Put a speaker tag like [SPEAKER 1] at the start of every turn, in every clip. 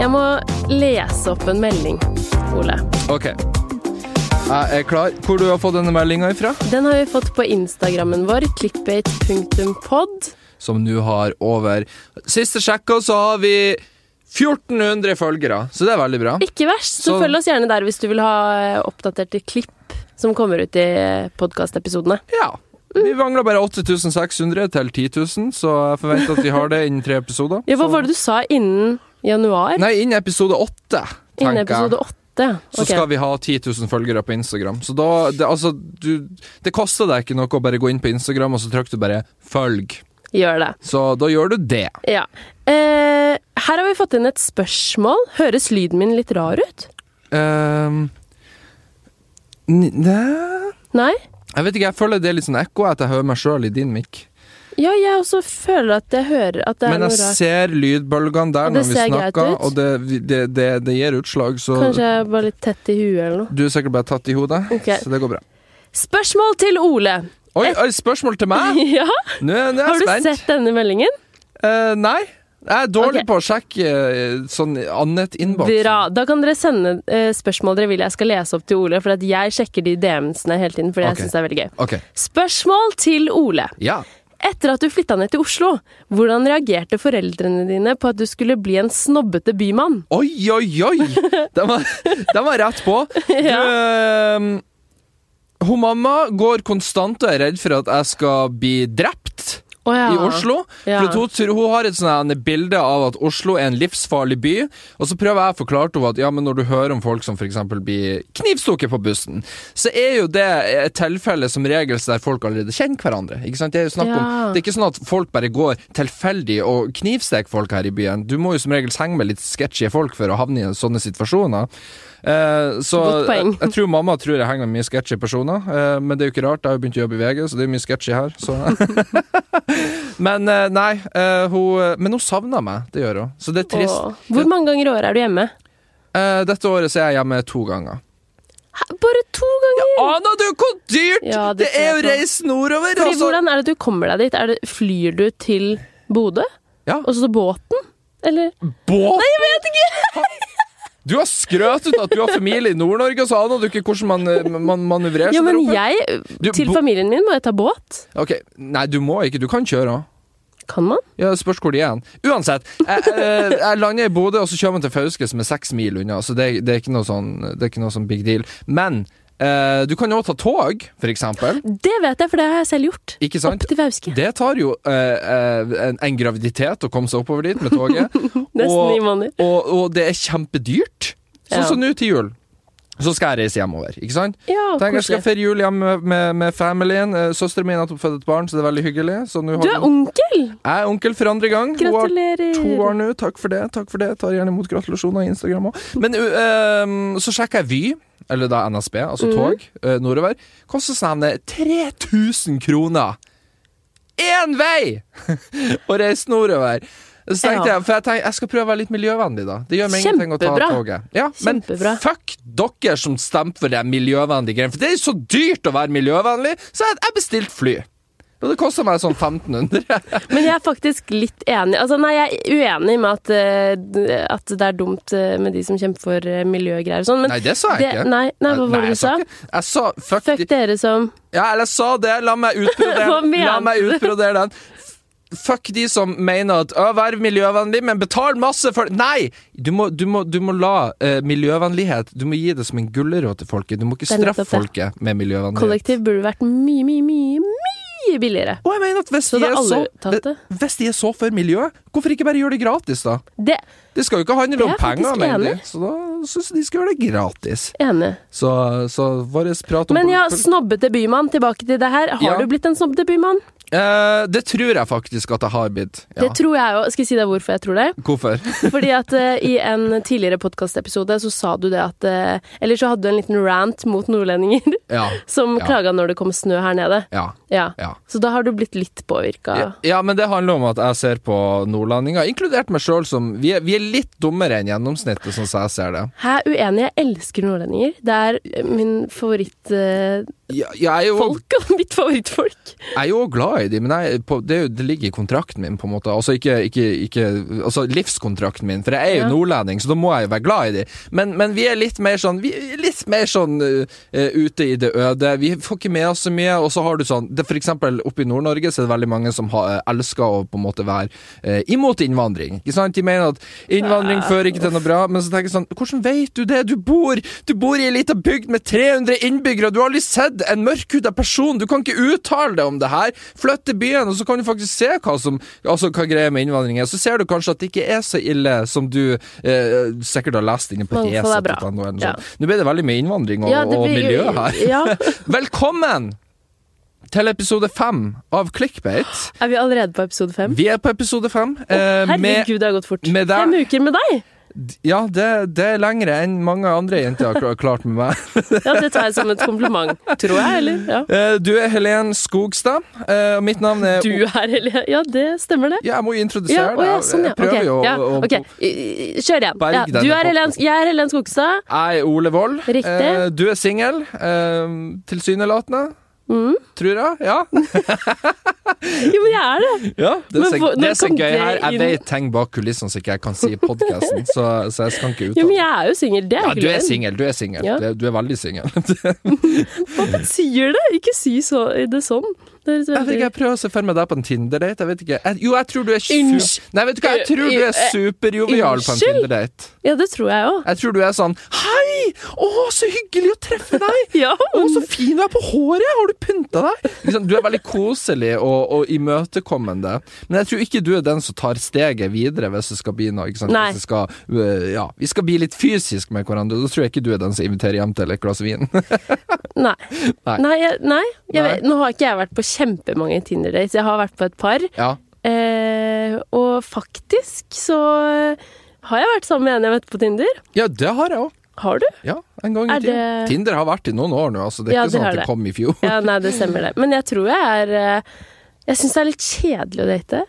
[SPEAKER 1] Jeg må lese opp en melding, Ole.
[SPEAKER 2] OK. Jeg er klar. Hvor du har fått denne meldinga ifra?
[SPEAKER 1] Den har vi fått på Instagrammen vår, clickbait.pod.
[SPEAKER 2] Som nå har over Siste sjekka så har vi 1400 følgere, så det er veldig bra.
[SPEAKER 1] Ikke verst. Så,
[SPEAKER 2] Så-
[SPEAKER 1] følg oss gjerne der hvis du vil ha eh, oppdaterte klipp som kommer ut i eh, podkastepisodene.
[SPEAKER 2] Ja. Vi mangler bare 8600 til 10 000, så jeg forventer at vi har det innen tre episoder.
[SPEAKER 1] Ja, hva
[SPEAKER 2] Så-
[SPEAKER 1] var det du sa innen januar?
[SPEAKER 2] Nei, innen episode åtte,
[SPEAKER 1] innen
[SPEAKER 2] tenker jeg.
[SPEAKER 1] episode åtte?
[SPEAKER 2] Så
[SPEAKER 1] Ok.
[SPEAKER 2] skal vi ha 10 000 følgere på Instagram. Så da, det, altså, du, det koster deg ikke noe å bare gå inn på Instagram, og så trykker du bare 'følg'.
[SPEAKER 1] Gjør det.
[SPEAKER 2] Så da gjør du det.
[SPEAKER 1] Ja. Eh, her har vi fått inn et spørsmål. Høres lyden min litt rar ut?
[SPEAKER 2] Ehm, n- Nei
[SPEAKER 1] Nei?
[SPEAKER 2] Jeg vet ikke, jeg føler det er litt sånn ekko at jeg hører meg sjøl i din mic.
[SPEAKER 1] Ja, jeg også føler at jeg hører at det er
[SPEAKER 2] Men
[SPEAKER 1] noe
[SPEAKER 2] jeg
[SPEAKER 1] rart.
[SPEAKER 2] ser lydbølgene der
[SPEAKER 1] Og
[SPEAKER 2] når
[SPEAKER 1] det
[SPEAKER 2] vi
[SPEAKER 1] ser greit
[SPEAKER 2] snakker,
[SPEAKER 1] ut.
[SPEAKER 2] og det, vi- det, det, det gir utslag, så
[SPEAKER 1] Kanskje jeg er bare litt tett i huet eller noe.
[SPEAKER 2] Du er sikkert bare tatt i hodet,
[SPEAKER 1] Ok.
[SPEAKER 2] så det går bra.
[SPEAKER 1] Spørsmål til Ole.
[SPEAKER 2] Oi, oi spørsmål til meg!
[SPEAKER 1] ja,
[SPEAKER 2] Nå er nå er
[SPEAKER 1] Har
[SPEAKER 2] jeg
[SPEAKER 1] du
[SPEAKER 2] spent.
[SPEAKER 1] sett denne meldingen?
[SPEAKER 2] Eh, nei. Jeg er dårlig
[SPEAKER 1] Ok.
[SPEAKER 2] på å sjekke eh, sånn annet innboks.
[SPEAKER 1] Bra. Da kan dere sende eh, spørsmål dere vil jeg skal lese opp til Ole, for at jeg sjekker de DM-ene hele tiden, fordi
[SPEAKER 2] Ok.
[SPEAKER 1] jeg syns det er veldig gøy.
[SPEAKER 2] Ok.
[SPEAKER 1] Spørsmål til Ole.
[SPEAKER 2] Ja.
[SPEAKER 1] Etter at du flytta ned til Oslo, hvordan reagerte foreldrene dine på at du skulle bli en snobbete bymann?
[SPEAKER 2] Oi, oi, oi! Den var, den var rett på. Du, eh, hun mamma går konstant og er redd for at jeg skal bli drept.
[SPEAKER 1] Å ja.
[SPEAKER 2] i Oslo.
[SPEAKER 1] Ja.
[SPEAKER 2] For at hun, tror- hun har et sånn her bilde av at Oslo er en livsfarlig by, og så prøver jeg å forklare til henne at ja, men når du hører om folk som f.eks. blir knivstukket på bussen, så er jo det et tilfelle som regel der folk allerede kjenner hverandre. Ikke sant? Det er jo snakk om
[SPEAKER 1] Ja.
[SPEAKER 2] det er ikke sånn at folk bare går tilfeldig og knivsteker folk her i byen. Du må jo som regel henge med litt sketchy folk for å havne i sånne situasjoner. Eh, så
[SPEAKER 1] Godt
[SPEAKER 2] jeg,
[SPEAKER 1] poeng.
[SPEAKER 2] jeg tror mamma tror jeg henger med mye sketchy personer, eh, men det er jo ikke rart. Jeg har jo begynt å jobbe i VG, så det er jo mye sketchy her. Så. men eh, nei, eh, hun, men hun savner meg. Det gjør hun. Så det er trist.
[SPEAKER 1] Åh. Hvor mange ganger i året er du hjemme?
[SPEAKER 2] Eh, dette året så er jeg hjemme to ganger.
[SPEAKER 1] Hæ, Bare to ganger!
[SPEAKER 2] Aner du hvor dyrt
[SPEAKER 1] Ja,
[SPEAKER 2] det,
[SPEAKER 1] det
[SPEAKER 2] er å
[SPEAKER 1] ser jeg på.
[SPEAKER 2] reise nordover?
[SPEAKER 1] Fordi,
[SPEAKER 2] altså.
[SPEAKER 1] Hvordan er det du kommer deg dit? Er det, flyr du til Bodø?
[SPEAKER 2] Ja.
[SPEAKER 1] Og så båten? Eller
[SPEAKER 2] Båt?
[SPEAKER 1] Nei, jeg vet ikke!
[SPEAKER 2] Du har skrøt ut at du har familie i Nord-Norge, og så aner du ikke hvordan man, eh, man manøvrerer
[SPEAKER 1] Ja,
[SPEAKER 2] seg
[SPEAKER 1] men
[SPEAKER 2] der oppe.
[SPEAKER 1] jeg,
[SPEAKER 2] Du,
[SPEAKER 1] til
[SPEAKER 2] bo-
[SPEAKER 1] familien min må jeg ta båt.
[SPEAKER 2] Ok, Nei, du må ikke. Du kan kjøre òg.
[SPEAKER 1] Kan man?
[SPEAKER 2] Ja, det spørs hvor de er hen. Uansett. Jeg, eh, jeg lander i Bodø, og så kjører man til Fauske, som er seks mil unna. Så det, det, er, ikke noe sånn, det er ikke noe sånn big deal. Men eh, du kan jo også ta tog, for eksempel.
[SPEAKER 1] Det vet jeg, for det har jeg selv gjort.
[SPEAKER 2] Ikke sant?
[SPEAKER 1] Opp til Fauske.
[SPEAKER 2] Det tar jo eh, eh, en, en graviditet å komme seg oppover dit med toget.
[SPEAKER 1] Nesten ni måneder.
[SPEAKER 2] og, og det er kjempedyrt. Sånn
[SPEAKER 1] Ja.
[SPEAKER 2] som nå til jul. Så skal jeg reise hjemover, ikke sant?
[SPEAKER 1] Ja,
[SPEAKER 2] Tenk, jeg skal
[SPEAKER 1] koselig.
[SPEAKER 2] feire jul hjemme med, med, med familien. Eh, Søsteren min har nettopp født et barn, så det er veldig hyggelig. Så nå har
[SPEAKER 1] Du er
[SPEAKER 2] hun-
[SPEAKER 1] onkel!
[SPEAKER 2] Jeg er onkel for andre gang. Hun har
[SPEAKER 1] Gratulerer.
[SPEAKER 2] To år nå, takk for det. takk for det Tar gjerne imot gratulasjoner i Instagram òg. Men øhm, så sjekka jeg Vy, eller da NSB,
[SPEAKER 1] Mm.
[SPEAKER 2] altså tog øh, nordover. Koster sånn nevne 3000 kroner én vei å reise nordover! Så tenkte
[SPEAKER 1] Ja.
[SPEAKER 2] jeg, For jeg tenkte, jeg skal prøve å være litt miljøvennlig, da. Det gjør meg ingenting å ta
[SPEAKER 1] Kjempebra.
[SPEAKER 2] toget. Ja, men
[SPEAKER 1] Kjempebra.
[SPEAKER 2] fuck dere som stemte for de miljøvennlige greiene. For det er så dyrt å være miljøvennlig, så jeg, jeg bestilte fly. Og det kosta meg sånn 1500.
[SPEAKER 1] Men jeg er faktisk litt enig Altså, nei, jeg er uenig med at, eh, d- at det er dumt eh, med de som kjemper for eh, miljøgreier og sånn, men
[SPEAKER 2] Nei, det sa jeg
[SPEAKER 1] det-
[SPEAKER 2] ikke.
[SPEAKER 1] Nei, nei, hva var det
[SPEAKER 2] jeg
[SPEAKER 1] du sa?
[SPEAKER 2] ikke- Jeg sa fuck,
[SPEAKER 1] Fuck
[SPEAKER 2] de-
[SPEAKER 1] dere som
[SPEAKER 2] Ja, eller jeg sa det. La meg utbrodere
[SPEAKER 1] Hva
[SPEAKER 2] den. La
[SPEAKER 1] mente
[SPEAKER 2] meg
[SPEAKER 1] du?
[SPEAKER 2] utbrodere den. F- Fuck de som mener at «Å, vær miljøvennlig, men betal masse for Nei! Du må, du må, du må la eh, miljøvennlighet Du må gi det som en gulrot til folket. Du må ikke
[SPEAKER 1] Det er nettopp
[SPEAKER 2] straffe folket med miljøvennlighet.
[SPEAKER 1] kollektiv burde vært mye, mye, mye, mye billigere.
[SPEAKER 2] Og jeg mener at hvis
[SPEAKER 1] Så
[SPEAKER 2] de,
[SPEAKER 1] da
[SPEAKER 2] er så,
[SPEAKER 1] alle tatt det?
[SPEAKER 2] hvis de er så for miljøet, hvorfor ikke bare gjøre det gratis, da?
[SPEAKER 1] Det
[SPEAKER 2] Det skal jo ikke handle
[SPEAKER 1] Det er
[SPEAKER 2] om
[SPEAKER 1] jeg
[SPEAKER 2] penger,
[SPEAKER 1] faktisk
[SPEAKER 2] mener de.
[SPEAKER 1] enig.
[SPEAKER 2] Så da syns jeg de skal gjøre det gratis.
[SPEAKER 1] enig.
[SPEAKER 2] Så, så vår prat om
[SPEAKER 1] Men ja,
[SPEAKER 2] pol-
[SPEAKER 1] snobbete bymann, tilbake til det her. Har
[SPEAKER 2] Ja.
[SPEAKER 1] du blitt en snobbete bymann?
[SPEAKER 2] Eh, det tror jeg faktisk at jeg har blitt. Ja.
[SPEAKER 1] Det tror jeg òg. Skal jeg si deg hvorfor jeg tror det?
[SPEAKER 2] Hvorfor?
[SPEAKER 1] Fordi at eh, i en tidligere podkastepisode så sa du det at eh, Eller så hadde du en liten rant mot nordlendinger
[SPEAKER 2] Ja.
[SPEAKER 1] som
[SPEAKER 2] Ja.
[SPEAKER 1] klaga når det kom snø her nede.
[SPEAKER 2] Ja.
[SPEAKER 1] Ja.
[SPEAKER 2] Ja.
[SPEAKER 1] Så da har du blitt litt påvirka.
[SPEAKER 2] Ja, ja, men det handler om at jeg ser på nordlendinger, inkludert meg sjøl, som vi er, vi er litt dummere enn gjennomsnittet, sånn som jeg ser det.
[SPEAKER 1] Hæ, uenig. Jeg elsker nordlendinger. Det er eh, min favoritt eh,
[SPEAKER 2] Jeg, jeg er jo
[SPEAKER 1] folk og mitt favorittfolk.
[SPEAKER 2] Jeg er jo glad i de, men jeg, på, det, er jo- det ligger i kontrakten min, på en måte. Altså, ikke, ikke, ikke, altså livskontrakten min, for jeg er jo
[SPEAKER 1] Ja.
[SPEAKER 2] nordlending, så da må jeg jo være glad i de. Men, men vi er litt mer sånn, vi er litt mer sånn eh, ute i det øde. Vi får ikke med oss så mye, og så har du sånn det, For eksempel oppe i Nord-Norge så er det veldig mange som har, eh, elsker å på en måte være eh, imot innvandring. Ikke sant? De mener at innvandring fører ikke til noe bra, men så tenker jeg sånn Hvordan vet du det? Du bor Du bor i ei lita bygd med 300 innbyggere, og du har aldri sett en mørkhuda person! Du kan ikke uttale deg om det her! Flytt til byen, og så kan du faktisk se hva som Altså hva greia med innvandring er. Så ser du kanskje at det ikke er så ille som du eh, sikkert har lest inne på
[SPEAKER 1] Mangfold er bra.
[SPEAKER 2] reset.no. eller noe
[SPEAKER 1] Ja.
[SPEAKER 2] sånt. Nå ble det veldig mye innvandring og,
[SPEAKER 1] Ja, det
[SPEAKER 2] og
[SPEAKER 1] blir-
[SPEAKER 2] miljø her.
[SPEAKER 1] Ja.
[SPEAKER 2] Velkommen til episode fem av Clickbait.
[SPEAKER 1] Er vi allerede på episode fem?
[SPEAKER 2] Vi er på episode fem. eh, med,
[SPEAKER 1] Herregud, det har gått fort.
[SPEAKER 2] med deg-
[SPEAKER 1] Fem uker med deg!
[SPEAKER 2] ja, det, det er lengre enn mange andre jenter har kla- klart med meg.
[SPEAKER 1] Ja, Det tar jeg som et kompliment, tror jeg. eller? Ja.
[SPEAKER 2] Eh, Du er Helen Skogstad, eh, og mitt navn er
[SPEAKER 1] Du er eller? Ja, det stemmer det.
[SPEAKER 2] Ja, jeg må jo introdusere
[SPEAKER 1] Ja, å, ja,
[SPEAKER 2] deg.
[SPEAKER 1] sånn, ja.
[SPEAKER 2] Jeg prøver
[SPEAKER 1] Ok,
[SPEAKER 2] jo å-
[SPEAKER 1] ja.
[SPEAKER 2] å
[SPEAKER 1] ok. I- i- Kjør igjen.
[SPEAKER 2] Berg
[SPEAKER 1] Ja,
[SPEAKER 2] denne
[SPEAKER 1] du er
[SPEAKER 2] podcasten.
[SPEAKER 1] Helen, jeg er Helen Skogstad.
[SPEAKER 2] Jeg er Ole Wold.
[SPEAKER 1] Riktig.
[SPEAKER 2] Eh, Du er singel. eh, Tilsynelatende.
[SPEAKER 1] Mm.
[SPEAKER 2] Tror jeg. Ja.
[SPEAKER 1] Jo, men jeg er det!
[SPEAKER 2] ja det er
[SPEAKER 1] Men
[SPEAKER 2] så,
[SPEAKER 1] hvor-
[SPEAKER 2] det er
[SPEAKER 1] når
[SPEAKER 2] så
[SPEAKER 1] kom
[SPEAKER 2] gøy
[SPEAKER 1] det
[SPEAKER 2] her. Jeg
[SPEAKER 1] inn?
[SPEAKER 2] vet ting bak kulissene som ikke jeg kan si i podkasten, så, så jeg skal ikke
[SPEAKER 1] Jo,
[SPEAKER 2] uttale
[SPEAKER 1] men jeg er jo singel. Det er
[SPEAKER 2] Ja,
[SPEAKER 1] ikke
[SPEAKER 2] du er
[SPEAKER 1] løgn.
[SPEAKER 2] singel, du er singel.
[SPEAKER 1] Ja.
[SPEAKER 2] Du, er- du er veldig singel.
[SPEAKER 1] Hvorfor sier det? Ikke si så, det sånn. Det høres
[SPEAKER 2] Jeg vet ikke,
[SPEAKER 1] veldig
[SPEAKER 2] jeg prøver å se for meg deg på en Tinder-date. Jeg vet ikke. Jeg, jo, jeg tror du er su-
[SPEAKER 1] Unnskyld. Eh,
[SPEAKER 2] Nei, vet du hva, jeg tror du er superjovial på en
[SPEAKER 1] Unnskyld.
[SPEAKER 2] Tinder-date.
[SPEAKER 1] Ja, det tror jeg òg.
[SPEAKER 2] Jeg tror du er sånn Hei! Å, så hyggelig å treffe deg!
[SPEAKER 1] Ja,
[SPEAKER 2] Å,
[SPEAKER 1] men-
[SPEAKER 2] så fin du er på håret! Har du pynta deg? Ikke sant? du er veldig koselig og, og imøtekommende. Men jeg tror ikke du er den som tar steget videre hvis det skal bli noe. Ikke sant?
[SPEAKER 1] Nei.
[SPEAKER 2] Hvis det skal, øh, ja, vi skal bli litt fysisk med hverandre. Da tror jeg ikke du er den som inviterer hjem til et glass vin.
[SPEAKER 1] Nei.
[SPEAKER 2] Nei.
[SPEAKER 1] Nei, jeg, nei, jeg
[SPEAKER 2] Nei.
[SPEAKER 1] Vet, nå har ikke jeg vært på kjempemange Tinder-dates. Jeg har vært på et par.
[SPEAKER 2] ja.
[SPEAKER 1] Eh, og faktisk så har jeg vært sammen med en jeg møtte på Tinder.
[SPEAKER 2] ja, det har jeg òg.
[SPEAKER 1] Har du?
[SPEAKER 2] Ja, en gang i
[SPEAKER 1] Er
[SPEAKER 2] tiden.
[SPEAKER 1] det-
[SPEAKER 2] Tinder har vært i noen år nå, altså. Det er
[SPEAKER 1] Ja, det
[SPEAKER 2] ikke sånn
[SPEAKER 1] har
[SPEAKER 2] at det
[SPEAKER 1] det.
[SPEAKER 2] kom i fjor.
[SPEAKER 1] Ja, nei, det stemmer det. Men jeg tror jeg er eh, Jeg syns det er litt kjedelig å date.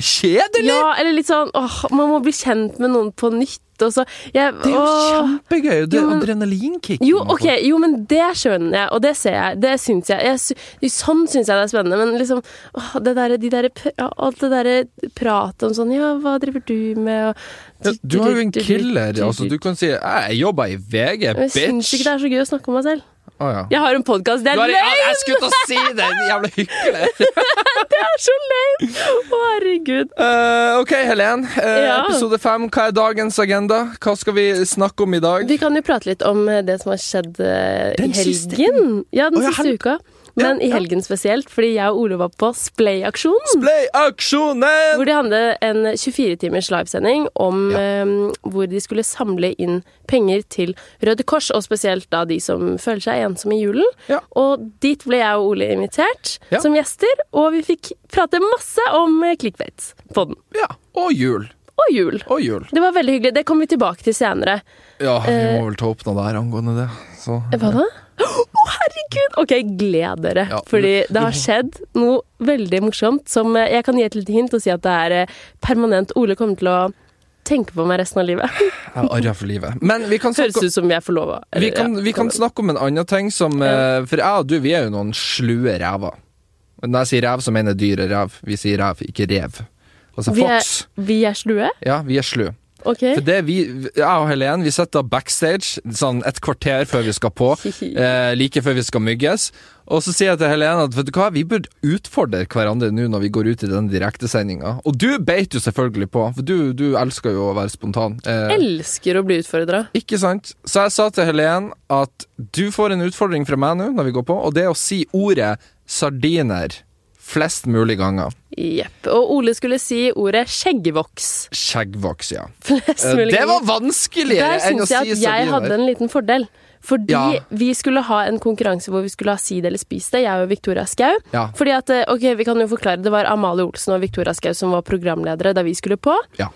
[SPEAKER 2] Kjedelig!
[SPEAKER 1] Ja, eller litt sånn åh, man må bli kjent med noen på nytt, og så jeg,
[SPEAKER 2] Det er jo
[SPEAKER 1] åh.
[SPEAKER 2] kjempegøy! Det
[SPEAKER 1] Jo,
[SPEAKER 2] er
[SPEAKER 1] men-
[SPEAKER 2] adrenalinkick.
[SPEAKER 1] Jo, ok, jo, men det skjønner jeg, og det ser jeg. Det syns jeg. jeg sy sånn syns jeg det er spennende, men liksom åh, det der, de der, pr- ja, Alt det derre pratet om sånn Ja, hva driver du med?
[SPEAKER 2] Ja,
[SPEAKER 1] Og,
[SPEAKER 2] Du har jo en killer. Altså, du kan si 'jeg jobber i VG,
[SPEAKER 1] Jeg syns
[SPEAKER 2] bitch'.
[SPEAKER 1] ikke det er så gøy å snakke om meg selv.
[SPEAKER 2] Å, ja.
[SPEAKER 1] Jeg har en podkast, det
[SPEAKER 2] Du
[SPEAKER 1] er
[SPEAKER 2] har, jeg,
[SPEAKER 1] løgn!
[SPEAKER 2] jeg skulle til å si det! din Jævla hyggelig!
[SPEAKER 1] Det er så løgn! Å, herregud.
[SPEAKER 2] Eh, ok, Helen. Eh,
[SPEAKER 1] Ja.
[SPEAKER 2] Episode fem. Hva er dagens agenda? Hva skal vi snakke om i dag?
[SPEAKER 1] Vi kan jo prate litt om eh, det som har skjedd eh, i
[SPEAKER 2] Den siste-
[SPEAKER 1] helgen. Ja, den
[SPEAKER 2] Å, ja,
[SPEAKER 1] siste
[SPEAKER 2] hel-
[SPEAKER 1] uka.
[SPEAKER 2] Ja,
[SPEAKER 1] Men i
[SPEAKER 2] ja.
[SPEAKER 1] helgen spesielt, fordi jeg og Ole var på Splay-aksjon.
[SPEAKER 2] Splay-aksjonen!
[SPEAKER 1] Hvor de hadde en 24-timers livesending om eh, hvor de skulle samle inn penger til Røde Kors, og spesielt da de som føler seg ensomme i julen.
[SPEAKER 2] Ja.
[SPEAKER 1] Og dit ble jeg og Ole invitert
[SPEAKER 2] Ja.
[SPEAKER 1] som gjester, og vi fikk prate masse om eh, clickbait på den.
[SPEAKER 2] Ja. Og jul.
[SPEAKER 1] Og jul.
[SPEAKER 2] Og jul.
[SPEAKER 1] Det var veldig hyggelig. Det kommer vi tilbake til senere.
[SPEAKER 2] Ja, vi må vel ta opp noe der angående det. Så.
[SPEAKER 1] Hva da? Å, herregud! Ok, gled dere.
[SPEAKER 2] Ja,
[SPEAKER 1] fordi
[SPEAKER 2] men-
[SPEAKER 1] det har skjedd noe veldig morsomt som eh, Jeg kan gi et lite hint og si at det er eh, permanent. Ole kommer til å tenke på meg resten av livet.
[SPEAKER 2] Jeg har arra for livet. Men vi kan
[SPEAKER 1] Høres
[SPEAKER 2] snakke
[SPEAKER 1] ut som vi er forlova.
[SPEAKER 2] vi kan, vi kan snakke om en annen ting som eh, For jeg og du, vi er jo noen slue rever. Og Når jeg sier rev, så mener jeg dyre rev. Vi sier rev, ikke rev. Altså
[SPEAKER 1] Vi er,
[SPEAKER 2] fox.
[SPEAKER 1] vi er slue?
[SPEAKER 2] Ja, vi er slu.
[SPEAKER 1] Ok.
[SPEAKER 2] For det vi, jeg og Helen, vi sitter backstage sånn et kvarter før vi skal på, eh, like før vi skal mygges. Og så sier jeg til Helen at vet du hva, vi burde utfordre hverandre nå når vi går ut i den direktesendinga. Og du beit jo selvfølgelig på, for du, du elsker jo å være spontan. Eh,
[SPEAKER 1] Elsker å bli utfordra.
[SPEAKER 2] ikke sant? Så jeg sa til Helen at du får en utfordring fra meg nå når vi går på, og det er å si ordet sardiner flest mulig ganger.
[SPEAKER 1] Jepp. Og Ole skulle si ordet skjeggvoks.
[SPEAKER 2] Skjeggvoks, ja.
[SPEAKER 1] Flest
[SPEAKER 2] Eh,
[SPEAKER 1] mulig
[SPEAKER 2] det var
[SPEAKER 1] ganger.
[SPEAKER 2] vanskeligere
[SPEAKER 1] Der
[SPEAKER 2] enn å
[SPEAKER 1] syns
[SPEAKER 2] si
[SPEAKER 1] jeg at
[SPEAKER 2] sardiner.
[SPEAKER 1] jeg hadde en liten fordel. Fordi
[SPEAKER 2] Ja.
[SPEAKER 1] vi skulle ha en konkurranse hvor vi skulle ha si det eller spis det, jeg og Victoria Skau.
[SPEAKER 2] Ja.
[SPEAKER 1] Fordi at, eh, ok, vi kan jo forklare, Det var Amalie Olsen og Victoria Skau som var programledere da vi skulle på.
[SPEAKER 2] Ja.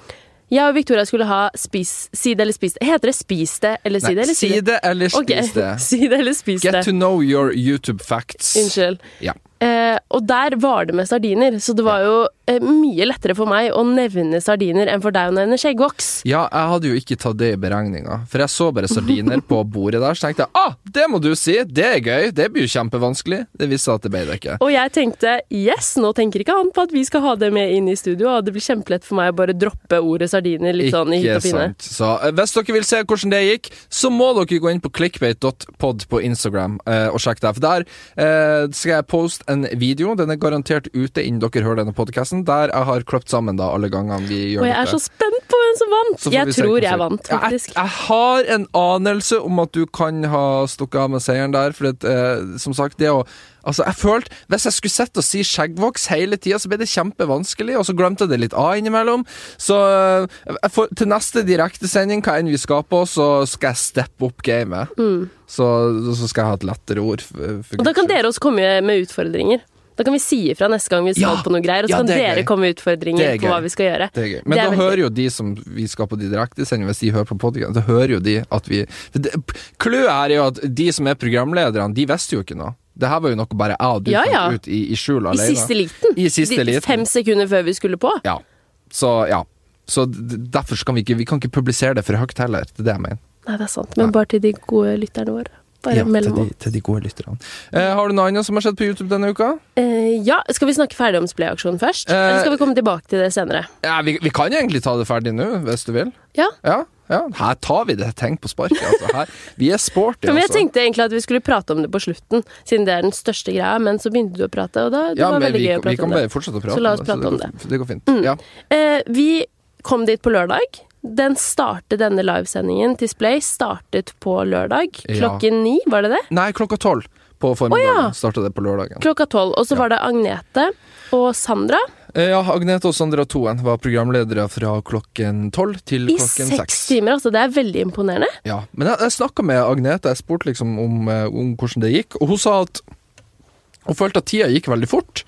[SPEAKER 1] Jeg og Victoria skulle ha spis, si det eller spis det. Heter det spis det eller si det? eller
[SPEAKER 2] si det eller spis
[SPEAKER 1] Ok,
[SPEAKER 2] det.
[SPEAKER 1] si det eller spis
[SPEAKER 2] Get to
[SPEAKER 1] det.
[SPEAKER 2] know your YouTube facts.
[SPEAKER 1] Unnskyld.
[SPEAKER 2] Ja.
[SPEAKER 1] Eh, og der var det med sardiner, så det var jo eh, mye lettere for meg å nevne sardiner enn for deg å nevne skjeggvoks.
[SPEAKER 2] Ja, jeg hadde jo ikke tatt det i beregninga, for jeg så bare sardiner på bordet der, så tenkte jeg ah, det må du si, det er gøy, det blir jo kjempevanskelig. Det viste seg at det ble det ikke.
[SPEAKER 1] Og jeg tenkte yes, nå tenker ikke han på at vi skal ha det med inn i studio, og det blir kjempelett for meg å bare droppe ordet sardiner litt sånn i hytt og pine.
[SPEAKER 2] sant. Så eh, hvis dere vil se hvordan det gikk, så må dere gå inn på clickbait.pod på Instagram eh, og sjekke det. For der eh, skal jeg poste en video, den er garantert ute innen dere hører denne podkasten, der jeg har kløpt sammen da alle gangene vi gjør
[SPEAKER 1] Og jeg er så spent på hvem som vant!
[SPEAKER 2] Så får vi
[SPEAKER 1] Jeg
[SPEAKER 2] se hvordan
[SPEAKER 1] tror
[SPEAKER 2] det-
[SPEAKER 1] jeg vant,
[SPEAKER 2] Ja,
[SPEAKER 1] faktisk.
[SPEAKER 2] Jeg, jeg har en anelse om at du kan ha stukket av med seieren der, for det, eh, som sagt, det å Altså, jeg følte Hvis jeg skulle sett og si skjeggvoks hele tida, så ble det kjempevanskelig, og så glemte jeg det litt av innimellom. Så eh, jeg får, til neste direktesending, hva enn vi skal på, så skal jeg steppe opp gamet. Så, så skal jeg ha et lettere ord. For, for
[SPEAKER 1] Mm. Og da kan
[SPEAKER 2] Guds skyld.
[SPEAKER 1] dere også komme med utfordringer. Da kan vi si ifra neste gang vi skal
[SPEAKER 2] Ja!
[SPEAKER 1] på noe greier, og så
[SPEAKER 2] Ja,
[SPEAKER 1] kan
[SPEAKER 2] det er
[SPEAKER 1] dere
[SPEAKER 2] gøy.
[SPEAKER 1] komme med
[SPEAKER 2] Det er
[SPEAKER 1] utfordringer på
[SPEAKER 2] gøy.
[SPEAKER 1] hva vi skal gjøre.
[SPEAKER 2] Det er gøy. Men
[SPEAKER 1] Det er
[SPEAKER 2] da
[SPEAKER 1] veldig
[SPEAKER 2] hører jo de som vi skal på de direktesendingene, hvis de hører på podkasten, da hører jo de at vi for det- p- Clouet her er jo at de som er programlederne, de visste jo ikke noe. Det her var jo noe bare jeg og du
[SPEAKER 1] Ja, ja.
[SPEAKER 2] fant ut i, i skjul
[SPEAKER 1] I
[SPEAKER 2] alene.
[SPEAKER 1] siste liten.
[SPEAKER 2] I siste
[SPEAKER 1] De-
[SPEAKER 2] liten.
[SPEAKER 1] Fem sekunder før vi skulle på.
[SPEAKER 2] Ja. Så ja. Så d- derfor så kan vi ikke Vi kan ikke publisere det for høyt heller. Det er det jeg mener.
[SPEAKER 1] Nei, det er sant. Men bare til de gode lytterne våre. Bare
[SPEAKER 2] Ja, til,
[SPEAKER 1] mellom
[SPEAKER 2] de, til de gode lytterne. Eh, har du noe annet som har skjedd på YouTube denne uka?
[SPEAKER 1] Eh, ja, Skal vi snakke ferdig om Splay-aksjonen først?
[SPEAKER 2] Eh,
[SPEAKER 1] Eller skal vi komme tilbake til det senere?
[SPEAKER 2] Ja, vi, vi kan egentlig ta det ferdig nå, hvis du vil.
[SPEAKER 1] Ja.
[SPEAKER 2] Ja, ja. Her tar vi det. Tenk på sparket, altså. Her, vi er sporty,
[SPEAKER 1] For jeg
[SPEAKER 2] altså.
[SPEAKER 1] tenkte egentlig at vi skulle prate om det på slutten, siden det er den største greia, men så begynte du å prate, og da det
[SPEAKER 2] Ja,
[SPEAKER 1] var
[SPEAKER 2] men
[SPEAKER 1] veldig
[SPEAKER 2] vi,
[SPEAKER 1] gøy å
[SPEAKER 2] vi
[SPEAKER 1] prate
[SPEAKER 2] kan
[SPEAKER 1] om det.
[SPEAKER 2] bare fortsette å prate
[SPEAKER 1] Så la oss prate
[SPEAKER 2] det
[SPEAKER 1] om
[SPEAKER 2] går, det går fint. Ja.
[SPEAKER 1] Eh, vi kom dit på lørdag. Den startet denne livesendingen til Splay startet på lørdag
[SPEAKER 2] Ja.
[SPEAKER 1] klokken ni, var det det?
[SPEAKER 2] Nei, klokka tolv på formiddagen.
[SPEAKER 1] Å, ja.
[SPEAKER 2] Starta det på lørdagen.
[SPEAKER 1] Klokka tolv. Og så var det Agnete og Sandra
[SPEAKER 2] Eh, Ja, Agnete og Sandra Toen var programledere fra klokken tolv til
[SPEAKER 1] i
[SPEAKER 2] klokken
[SPEAKER 1] seks
[SPEAKER 2] seks.
[SPEAKER 1] timer. Altså, det er veldig imponerende.
[SPEAKER 2] Ja. Men jeg, jeg snakka med Agnete, jeg spurte liksom om, eh, om hvordan det gikk, og hun sa at hun følte at tida gikk veldig fort.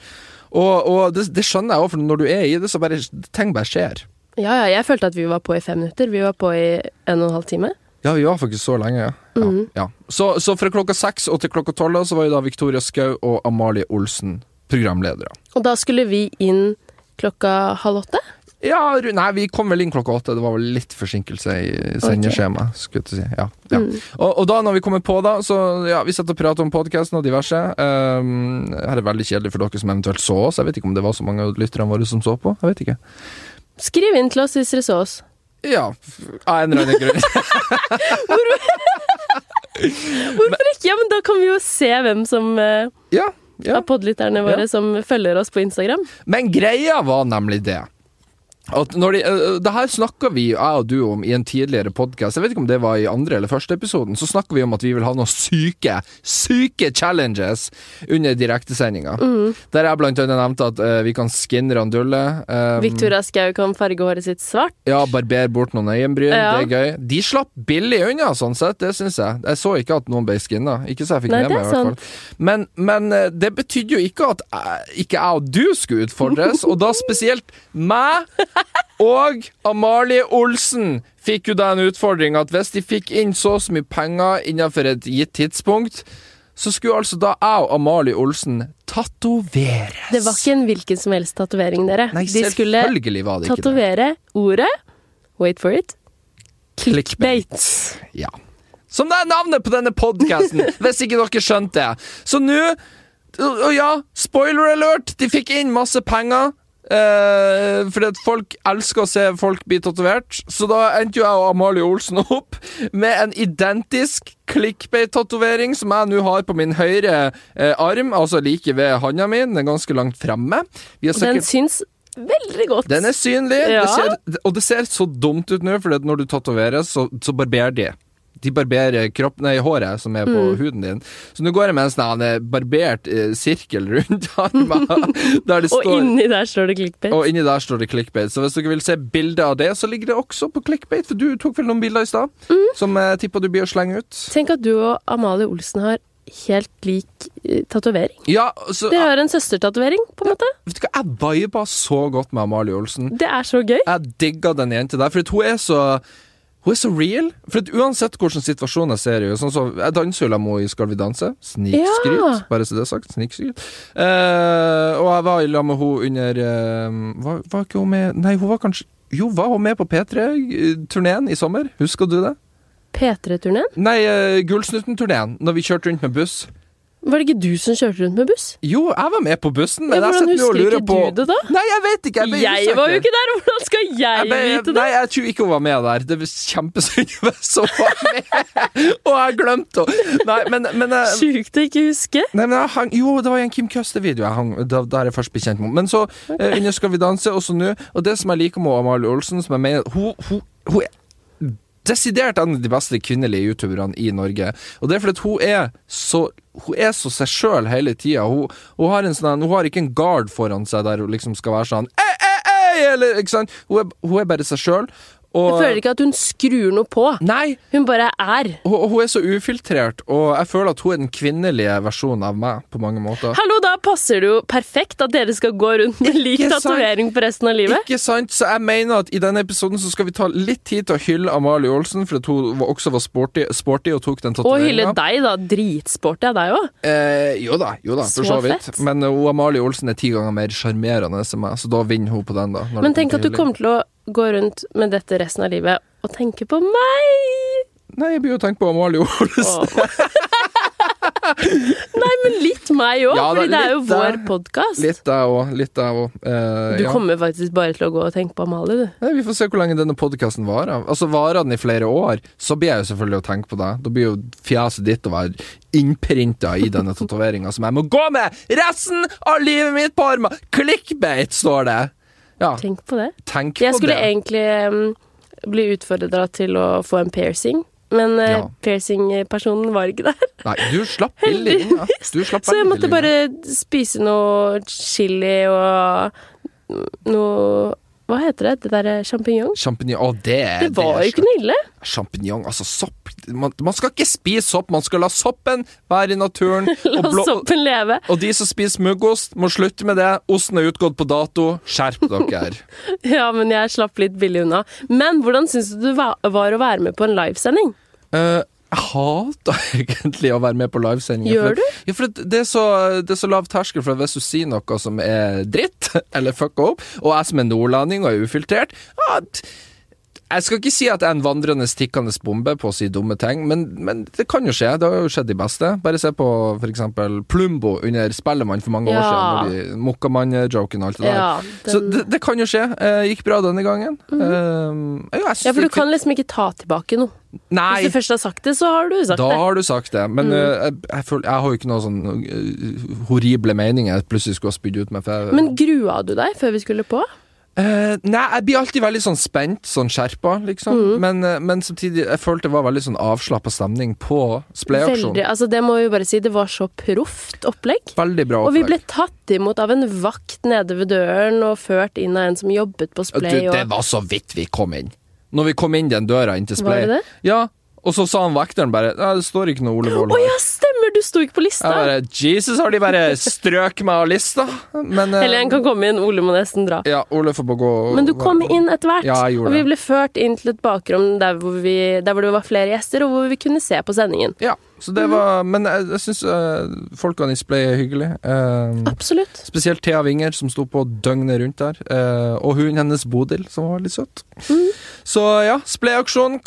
[SPEAKER 2] Og, og det, det skjønner jeg òg, for når du er i det, så bare ting bare skjer.
[SPEAKER 1] Ja, ja, jeg følte at vi var på i fem minutter. Vi var på i en og en halv time.
[SPEAKER 2] Ja, vi var faktisk så lenge, ja. ja, ja. Så, så fra klokka seks og til klokka tolv da, så var jo da Victoria Skau og Amalie Olsen programledere.
[SPEAKER 1] Og da skulle vi inn klokka halv åtte.
[SPEAKER 2] Ja, ru- nei, vi kom vel inn klokka åtte. Det var vel litt forsinkelse i sendeskjemaet. skulle jeg til å Si. Ja, ja. Og, og da når vi kommer på, da, så ja, vi sitter og prater om podkasten og diverse. Um, her er veldig kjedelig for dere som eventuelt så oss. Jeg vet ikke om det var så mange av lytterne våre som så på. Jeg vet ikke.
[SPEAKER 1] Skriv inn til oss hvis dere så oss.
[SPEAKER 2] Ja, f- av en eller annen grunn.
[SPEAKER 1] Hvorfor ikke? Ja, men da kan vi jo se hvem som eh,
[SPEAKER 2] ja, ja.
[SPEAKER 1] av podlytterne våre
[SPEAKER 2] Ja.
[SPEAKER 1] som følger oss på Instagram.
[SPEAKER 2] Men greia var nemlig det at når de, øh, det her snakka vi, jeg og du, om i en tidligere podkast. Jeg vet ikke om det var i andre eller første episoden. Så snakka vi om at vi vil ha noen syke, syke challenges under direktesendinga. Der jeg blant annet nevnte at øh, vi kan skinne Randulle. øh,
[SPEAKER 1] Victoria Skau kan farge håret sitt svart.
[SPEAKER 2] ja, barber bort noen øyenbryn.
[SPEAKER 1] Ja.
[SPEAKER 2] Det er gøy. De slapp billig unna, sånn sett. Det syns jeg. Jeg så ikke at noen ble skinna. Ikke så jeg fikk
[SPEAKER 1] Nei,
[SPEAKER 2] med
[SPEAKER 1] det er
[SPEAKER 2] meg, i hvert fall. Men, men eh, det betydde jo ikke at jeg, ikke jeg og du skulle utfordres, og da spesielt meg og Amalie Olsen fikk jo da en utfordring at hvis de fikk inn så og så mye penger innenfor et gitt tidspunkt, så skulle altså da jeg og Amalie Olsen tatoveres.
[SPEAKER 1] Det var ikke en hvilken som helst tatovering, dere.
[SPEAKER 2] Nei,
[SPEAKER 1] De skulle
[SPEAKER 2] selvfølgelig var det ikke det.
[SPEAKER 1] tatovere ordet Wait for it. Clickbait.
[SPEAKER 2] Ja. Som det er navnet på denne podkasten, hvis ikke dere skjønte det. Så nå og- Og ja, spoiler alert! De fikk inn masse penger. Eh, fordi at folk elsker å se folk bli tatovert. Så da endte jo jeg og Amalie Olsen opp med en identisk clickbait-tatovering som jeg nå har på min høyre eh, arm, altså like ved handa mi. Den er ganske langt fremme. Vi har
[SPEAKER 1] Og den
[SPEAKER 2] sikkert-
[SPEAKER 1] syns veldig godt.
[SPEAKER 2] den er synlig,
[SPEAKER 1] Ja.
[SPEAKER 2] det ser, og det ser så dumt ut nå, for når du tatoveres, så, så barberer de. De barberer kropp, nei, håret som er på
[SPEAKER 1] Mm.
[SPEAKER 2] huden din. Så nå går jeg med en sånn eh, barbert eh, sirkel rundt armen. der det
[SPEAKER 1] Og
[SPEAKER 2] står,
[SPEAKER 1] inni der står det clickbait.
[SPEAKER 2] og inni der står det clickbait. Så hvis dere vil se bilder av det, så ligger det også på clickbait, for du tok vel noen bilder i stad
[SPEAKER 1] Mm.
[SPEAKER 2] som jeg tippa du blir å slenge ut.
[SPEAKER 1] Tenk at du og Amalie Olsen har helt lik eh, tatovering.
[SPEAKER 2] Ja, så,
[SPEAKER 1] Dere har en søstertatovering, på en måte.
[SPEAKER 2] vet du hva, jeg viba så godt med Amalie Olsen.
[SPEAKER 1] Det er så gøy.
[SPEAKER 2] Jeg digga den jenta der, for hun er så Hun er så real. For at uansett hvordan situasjonen jeg ser i sånn som Jeg danser jo sammen med henne i Skal vi danse. Snikskryt,
[SPEAKER 1] Ja.
[SPEAKER 2] bare så det er sagt. Snikskryt. Eh, og jeg var i lag med henne under eh, var, var ikke hun med Nei, hun var kanskje Jo, var hun med på P3-turneen i sommer? Husker du det?
[SPEAKER 1] P3-turneen?
[SPEAKER 2] Nei, uh, Gullsnutten-turneen, når vi kjørte rundt med buss.
[SPEAKER 1] Var det ikke du som kjørte rundt med buss?
[SPEAKER 2] Jo, jeg var med på bussen, men
[SPEAKER 1] Ja,
[SPEAKER 2] jeg
[SPEAKER 1] hvordan
[SPEAKER 2] sitter nå og
[SPEAKER 1] husker
[SPEAKER 2] lurer
[SPEAKER 1] ikke
[SPEAKER 2] på
[SPEAKER 1] du det da?
[SPEAKER 2] Nei, jeg vet ikke! Jeg, ble
[SPEAKER 1] Jeg var jo
[SPEAKER 2] usikker.
[SPEAKER 1] ikke der! Hvordan skal jeg,
[SPEAKER 2] Jeg ble-
[SPEAKER 1] vite det?
[SPEAKER 2] Nei, jeg tror ikke hun var med der. Det var kjempesynd hvis hun var med! og jeg glemte henne! Nei, men, men eh, jeg-
[SPEAKER 1] Sjukt å ikke huske.
[SPEAKER 2] Nei, men jeg hang, jo, det var i en Kim Custer-video jeg hang da, der jeg først ble kjent med henne. Men så eh, under Skal vi danse, også nå. Og det som jeg liker med Amalie Olsen, som jeg mener Hun, hun, hun er desidert en av de beste kvinnelige youtuberne i Norge. Og det er fordi at hun er så hun er så seg sjøl hele tida. Hun, hun, har en sånn, hun har ikke en guard foran seg der hun liksom skal være sånn ei, ei, ei, eller, ikke sant? Hun, er, hun er bare seg sjøl.
[SPEAKER 1] Jeg føler ikke at hun skrur noe på.
[SPEAKER 2] Nei,
[SPEAKER 1] Hun bare er.
[SPEAKER 2] hun, hun er så ufiltrert, og jeg føler at hun er den kvinnelige versjonen av meg på mange måter.
[SPEAKER 1] Hallo, da passer det jo perfekt at dere skal gå rundt med lik
[SPEAKER 2] Ikke sant?
[SPEAKER 1] tatovering for resten av livet.
[SPEAKER 2] Ikke sant? Så jeg mener at i denne episoden så skal vi ta litt tid til å hylle Amalie Olsen, for at hun var- også var sporty, sporty og tok den
[SPEAKER 1] Og hylle
[SPEAKER 2] tatoveringa.
[SPEAKER 1] deg, da. Dritsporty av deg òg.
[SPEAKER 2] Eh, jo da, jo da, for
[SPEAKER 1] Så
[SPEAKER 2] så vidt.
[SPEAKER 1] fett.
[SPEAKER 2] Men eh, hun Amalie Olsen er ti ganger mer sjarmerende enn meg, så da vinner hun på den, da. når det
[SPEAKER 1] Men tenk at
[SPEAKER 2] kommer
[SPEAKER 1] du
[SPEAKER 2] til hylling.
[SPEAKER 1] kommer til å gå rundt med dette resten av livet og tenke på meg!
[SPEAKER 2] Nei, jeg begynner å tenke på Amalie Olsen.
[SPEAKER 1] Åh. Nei, men litt meg òg,
[SPEAKER 2] Ja, da,
[SPEAKER 1] Fordi det er jo
[SPEAKER 2] litt,
[SPEAKER 1] vår
[SPEAKER 2] eh,
[SPEAKER 1] podkast.
[SPEAKER 2] Litt der òg. Litt der òg. Eh,
[SPEAKER 1] Du
[SPEAKER 2] ja.
[SPEAKER 1] kommer faktisk bare til å gå og tenke på Amalie, du.
[SPEAKER 2] Nei, vi får se hvor lenge denne podkasten varer. Altså, Varer den i flere år, så blir jeg jo selvfølgelig å tenke på deg. Da blir jo fjeset ditt å være innprinta i denne tatoveringa som jeg må gå med resten av livet mitt på armen! Clickbait, står det! Ja,
[SPEAKER 1] Tenk på det.
[SPEAKER 2] tenk
[SPEAKER 1] Jeg
[SPEAKER 2] på
[SPEAKER 1] skulle
[SPEAKER 2] det.
[SPEAKER 1] egentlig em, bli utfordra til å få en piercing, men eh,
[SPEAKER 2] Ja.
[SPEAKER 1] piercingpersonen var ikke der.
[SPEAKER 2] Nei, du slapp billig unna. Du slapp
[SPEAKER 1] Så jeg
[SPEAKER 2] veldig
[SPEAKER 1] måtte
[SPEAKER 2] billig
[SPEAKER 1] bare spise noe chili og noe Hva heter det? Det derre sjampinjong?
[SPEAKER 2] unna. Champignon Å, det er
[SPEAKER 1] Det var jo ikke noe ille.
[SPEAKER 2] Sjampinjong, altså sopp man, man skal ikke spise sopp, man skal la soppen være i naturen.
[SPEAKER 1] La
[SPEAKER 2] og blå-
[SPEAKER 1] soppen leve.
[SPEAKER 2] Og de som spiser muggost, må slutte med det. Osten er utgått på dato. Skjerp dere.
[SPEAKER 1] Ja, men jeg slapp litt billig unna. Men hvordan syns du det va- var å være med på en livesending?
[SPEAKER 2] Eh, jeg hater egentlig å være med på livesendinger.
[SPEAKER 1] Gjør
[SPEAKER 2] for at- Ja, for at det er så, det er så lav terskel for at hvis du sier noe som er dritt, eller fucka opp, og jeg som er nordlanding og er ufiltrert ja, t- Jeg skal ikke si at jeg er en vandrende, tikkende bombe på å si dumme ting, men, men det kan jo skje. Det har jo skjedd de beste. Bare se på for eksempel Plumbo under Spellemann for mange år
[SPEAKER 1] Ja.
[SPEAKER 2] siden. når de- Mokkamann-joken og alt det der.
[SPEAKER 1] Ja,
[SPEAKER 2] Så
[SPEAKER 1] den-
[SPEAKER 2] det, det kan jo skje. Eh, gikk bra denne gangen. Eh, ja, jeg synes
[SPEAKER 1] Mhm. ja, for du
[SPEAKER 2] det-
[SPEAKER 1] kan liksom ikke ta tilbake noe.
[SPEAKER 2] Nei.
[SPEAKER 1] Hvis du først har sagt det, så har du sagt
[SPEAKER 2] Da
[SPEAKER 1] det.
[SPEAKER 2] har du sagt det,
[SPEAKER 1] Mm.
[SPEAKER 2] men eh, jeg, jeg, føler, jeg har jo ikke noen sånn eh, horrible meninger jeg plutselig skulle ha spydd ut med. For jeg,
[SPEAKER 1] Men grua du deg før vi skulle på?
[SPEAKER 2] Eh, nei, jeg blir alltid veldig sånn spent, sånn skjerpa, liksom.
[SPEAKER 1] Mm.
[SPEAKER 2] Men, eh, men samtidig, jeg følte det var veldig sånn avslappa stemning på spleaksjonen.
[SPEAKER 1] Veldig.
[SPEAKER 2] Veldig.
[SPEAKER 1] Altså, det må vi bare si. Det var så proft opplegg.
[SPEAKER 2] bra
[SPEAKER 1] Og vi ble
[SPEAKER 2] opplegg.
[SPEAKER 1] tatt imot av en vakt nede ved døren og ført inn av en som jobbet på
[SPEAKER 2] Du,
[SPEAKER 1] Splay.
[SPEAKER 2] det
[SPEAKER 1] Og...
[SPEAKER 2] var så vidt vi kom inn. Når vi kom inn den døra inn til
[SPEAKER 1] Var
[SPEAKER 2] Splay.
[SPEAKER 1] det det?
[SPEAKER 2] Ja, og så sa han vekteren bare Nei, det står ikke noe Ole Wold
[SPEAKER 1] Å
[SPEAKER 2] her.
[SPEAKER 1] ja, stemmer! Du sto ikke på lista.
[SPEAKER 2] Jeg bare, Jesus, har de bare strøk meg av lista? Men eh,
[SPEAKER 1] Eller en kan komme inn. Ole må nesten dra.
[SPEAKER 2] Ja, Ole får bare gå og-
[SPEAKER 1] Men du kom inn etter hvert,
[SPEAKER 2] Ja, jeg gjorde
[SPEAKER 1] og vi
[SPEAKER 2] det.
[SPEAKER 1] ble ført inn til et bakrom der hvor, vi, der hvor det var flere gjester, og hvor vi kunne se på sendingen.
[SPEAKER 2] Ja, så det var Men jeg, jeg eh, syns folkene i Splay er hyggelige. Eh,
[SPEAKER 1] Absolutt.
[SPEAKER 2] spesielt Thea Winger, som sto på døgnet rundt der. eh, og hunden hennes Bodil, som var litt søt. Så ja, Splay-aksjon.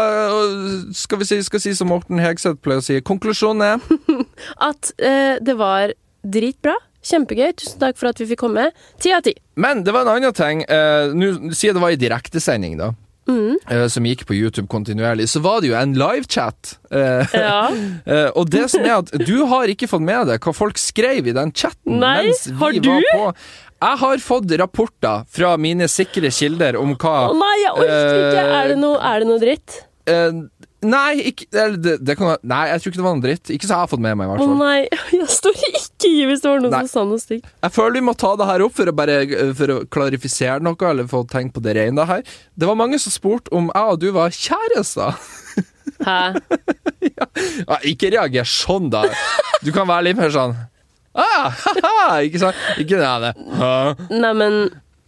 [SPEAKER 2] Hva skal vi si, skal si som Morten Hegseth pleier å si? Konklusjonen er
[SPEAKER 1] At eh, det var dritbra. Kjempegøy. Tusen takk for at vi fikk komme. Ti av ti.
[SPEAKER 2] Men det var en annen ting. eh, Nå sier jeg det var i direktesending, da. eh, som gikk på YouTube kontinuerlig. Så var det jo en livechat. Uh,
[SPEAKER 1] Ja.
[SPEAKER 2] Eh, og det som er at du har ikke fått med deg hva folk skrev i den chatten
[SPEAKER 1] Nei,
[SPEAKER 2] mens vi
[SPEAKER 1] har du?
[SPEAKER 2] var på. Jeg har fått rapporter fra mine sikre kilder om hva
[SPEAKER 1] Å nei, jeg orker ikke! Er det noe, er det noe dritt?
[SPEAKER 2] eh, Nei, ikke, eller det, det kan, være- nei, jeg tror ikke det var noe dritt. Ikke så jeg har fått med meg, i
[SPEAKER 1] Å
[SPEAKER 2] hvert fall.
[SPEAKER 1] nei, jeg står ikke i hvis det var noen
[SPEAKER 2] Sånn. Nei.
[SPEAKER 1] som sa noe stygt.
[SPEAKER 2] Jeg føler vi må ta det her opp for å, bare, for å klarifisere noe, eller få tenkt på det rene her. Det var mange som spurte om jeg og du var kjærester.
[SPEAKER 1] Hæ?
[SPEAKER 2] Ja, ikke reager sånn, da. Du kan være litt mer sånn ah, haha, Ikke sant? Ikke det. Hæ?
[SPEAKER 1] Neimen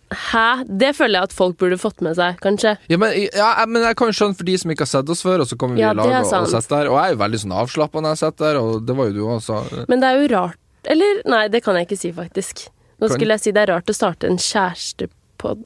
[SPEAKER 1] Hæ? Det føler jeg at folk burde fått med seg, kanskje.
[SPEAKER 2] Ja, men, ja, jeg- men jeg kan jo skjønne for de som ikke har sett oss før, og så kommer vi
[SPEAKER 1] Ja,
[SPEAKER 2] i lag
[SPEAKER 1] det er
[SPEAKER 2] og, og
[SPEAKER 1] sant.
[SPEAKER 2] sitter der. Og jeg er jo veldig sånn avslappa når jeg sitter der, og det var jo du også.
[SPEAKER 1] Men det er jo rart Eller, nei, det kan jeg ikke si, faktisk. Nå
[SPEAKER 2] Kan-
[SPEAKER 1] skulle jeg si det er rart å starte en kjærestepod...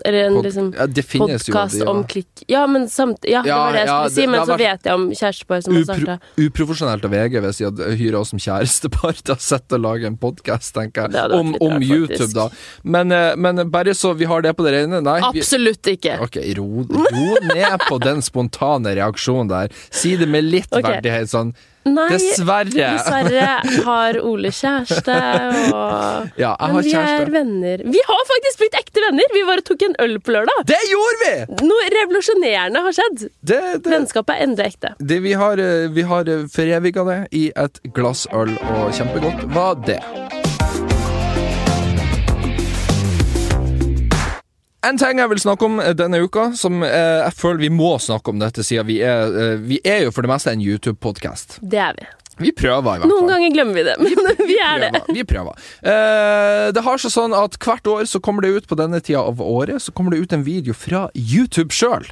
[SPEAKER 1] Eller en
[SPEAKER 2] Pod,
[SPEAKER 1] liksom
[SPEAKER 2] ja, det finnes jo
[SPEAKER 1] podkast
[SPEAKER 2] de, ja.
[SPEAKER 1] om klikk... Ja, men samt... Ja, det
[SPEAKER 2] Ja,
[SPEAKER 1] var det jeg
[SPEAKER 2] ja,
[SPEAKER 1] skulle
[SPEAKER 2] det-
[SPEAKER 1] si, men
[SPEAKER 2] det har
[SPEAKER 1] så vet jeg om kjærestepar som har
[SPEAKER 2] Upro
[SPEAKER 1] starta.
[SPEAKER 2] uprofesjonelt av VG hvis de hadde hyra oss som kjærestepar til å sitte og lage en podkast, tenker
[SPEAKER 1] Det
[SPEAKER 2] jeg.
[SPEAKER 1] hadde vært
[SPEAKER 2] Om,
[SPEAKER 1] litt
[SPEAKER 2] om
[SPEAKER 1] rart,
[SPEAKER 2] YouTube,
[SPEAKER 1] faktisk.
[SPEAKER 2] da. Men, eh, men bare så vi har det på det rene. Nei. Vi,
[SPEAKER 1] Absolutt ikke!
[SPEAKER 2] ok, ro, ro ned på den spontane reaksjonen der. Si det med litt
[SPEAKER 1] Ok.
[SPEAKER 2] verdighet, sånn.
[SPEAKER 1] Nei,
[SPEAKER 2] Dessverre.
[SPEAKER 1] dessverre har Ole kjæreste, og
[SPEAKER 2] Ja, jeg
[SPEAKER 1] Men
[SPEAKER 2] har
[SPEAKER 1] vi er
[SPEAKER 2] kjæreste.
[SPEAKER 1] venner. Vi har faktisk blitt ekte venner! Vi bare tok en øl på lørdag.
[SPEAKER 2] Det gjorde vi!
[SPEAKER 1] Noe revolusjonerende har skjedd.
[SPEAKER 2] Det, det,
[SPEAKER 1] Vennskapet er endelig ekte.
[SPEAKER 2] det vi har, eh, vi har eh, foreviga det i et glass øl, og kjempegodt var det. En ting jeg vil snakke om eh, denne uka, som eh, jeg føler vi må snakke om dette, siden vi er, eh, vi er jo for det meste en YouTube-podkast.
[SPEAKER 1] Det er vi.
[SPEAKER 2] Vi prøver, i hvert
[SPEAKER 1] Noen
[SPEAKER 2] fall.
[SPEAKER 1] ganger glemmer vi det, men vi er det.
[SPEAKER 2] prøver. Vi prøver. Eh, det har seg sånn at hvert år så kommer det ut på denne tida av året Så kommer det ut en video fra YouTube sjøl.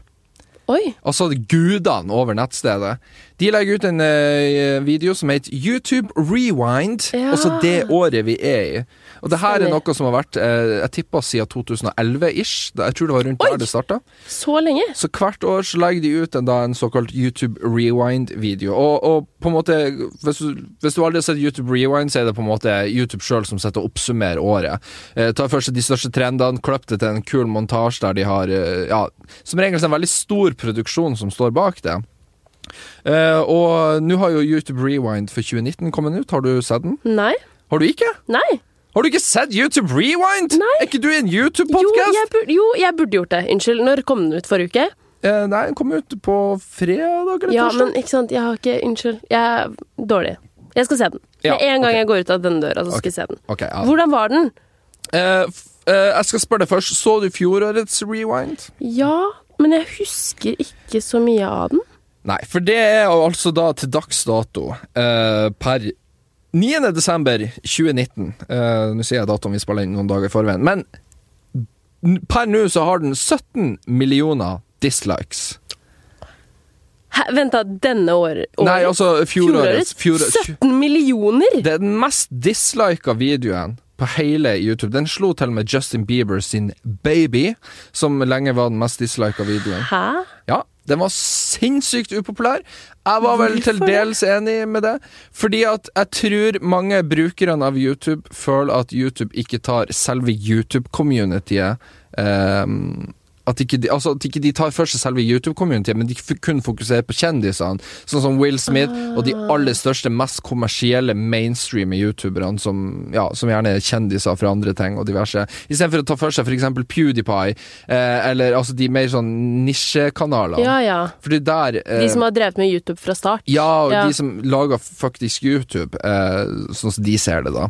[SPEAKER 1] Oi.
[SPEAKER 2] Altså gudene over nettstedet. De legger ut en eh, video som heter YouTube Rewind.
[SPEAKER 1] Ja.
[SPEAKER 2] Også det året vi er i. Og det her er
[SPEAKER 1] Stemmer.
[SPEAKER 2] noe som har vært eh, Jeg tippa siden 2011-ish. Jeg tror det var rundt
[SPEAKER 1] Oi.
[SPEAKER 2] der det starta.
[SPEAKER 1] Så lenge?
[SPEAKER 2] Så hvert år så legger de ut en, da, en såkalt YouTube Rewind-video. Og, og på en måte, hvis du, hvis du aldri har sett YouTube Rewind, så er det på en måte YouTube sjøl som sitter og oppsummerer året. Eh, tar først de største trendene, kløpp det til en kul montasje der de har eh, ja, Som regel så er det en veldig stor produksjon som står bak det. Eh, og nå har jo YouTube Rewind for 2019 kommet ut. Har du sett den?
[SPEAKER 1] Nei.
[SPEAKER 2] Har du ikke?
[SPEAKER 1] Nei.
[SPEAKER 2] Har du ikke sett YouTube Rewind?!
[SPEAKER 1] Nei.
[SPEAKER 2] Er ikke du i en
[SPEAKER 1] Jo
[SPEAKER 2] YouTube-podkast?
[SPEAKER 1] jeg, burde, jo, jeg burde gjort det. Unnskyld. Når kom den ut? Forrige uke?
[SPEAKER 2] eh, nei, den kom ut på fredag eller
[SPEAKER 1] Ja,
[SPEAKER 2] torsdag.
[SPEAKER 1] men ikke sant. Jeg har ikke Unnskyld. Jeg er dårlig. Jeg skal se den.
[SPEAKER 2] Ja,
[SPEAKER 1] Med en gang
[SPEAKER 2] ok.
[SPEAKER 1] jeg går ut av denne døra, så skal jeg se den.
[SPEAKER 2] Ok, ja.
[SPEAKER 1] Hvordan var den?
[SPEAKER 2] Eh, f- eh, jeg skal spørre deg først. Så du fjorårets rewind?
[SPEAKER 1] Ja, men jeg husker ikke så mye av den.
[SPEAKER 2] Nei, for det er jo altså da til dags dato eh, per 9. desember 2019. Eh, nå sier jeg datoen vi spiller inn noen dager i forveien, men n- per nå så har den 17 millioner dislikes.
[SPEAKER 1] Hæ, vent da, denne år, året?
[SPEAKER 2] Nei, altså fjorårets. fjorårets tju-
[SPEAKER 1] 17 millioner?!
[SPEAKER 2] det er den mest dislika videoen på hele YouTube. Den slo til og med Justin Bieber sin Baby, som lenge var den mest dislika videoen.
[SPEAKER 1] Hæ?
[SPEAKER 2] Ja, den var sinnssykt upopulær. Jeg var vel til
[SPEAKER 1] Hvorfor det?
[SPEAKER 2] dels enig med det. Fordi at jeg tror mange brukerne av YouTube føler at YouTube ikke tar selve YouTube-communityet ehm, at ikke, de, altså at ikke de tar for seg selve YouTube-communityet, men de f- kun fokuserer på kjendisene. Sånn som Will Smith og de aller største, mest kommersielle mainstreame youtuberne, som, ja, som gjerne er kjendiser fra andre ting og diverse. Istedenfor å ta for seg f.eks. PewDiePie, eh, eller altså de mer sånn nisjekanalene.
[SPEAKER 1] Ja ja.
[SPEAKER 2] For det der eh,
[SPEAKER 1] De som har drevet med YouTube fra start.
[SPEAKER 2] ja, og
[SPEAKER 1] Ja.
[SPEAKER 2] de som lager faktisk YouTube, eh, sånn som de ser det, da.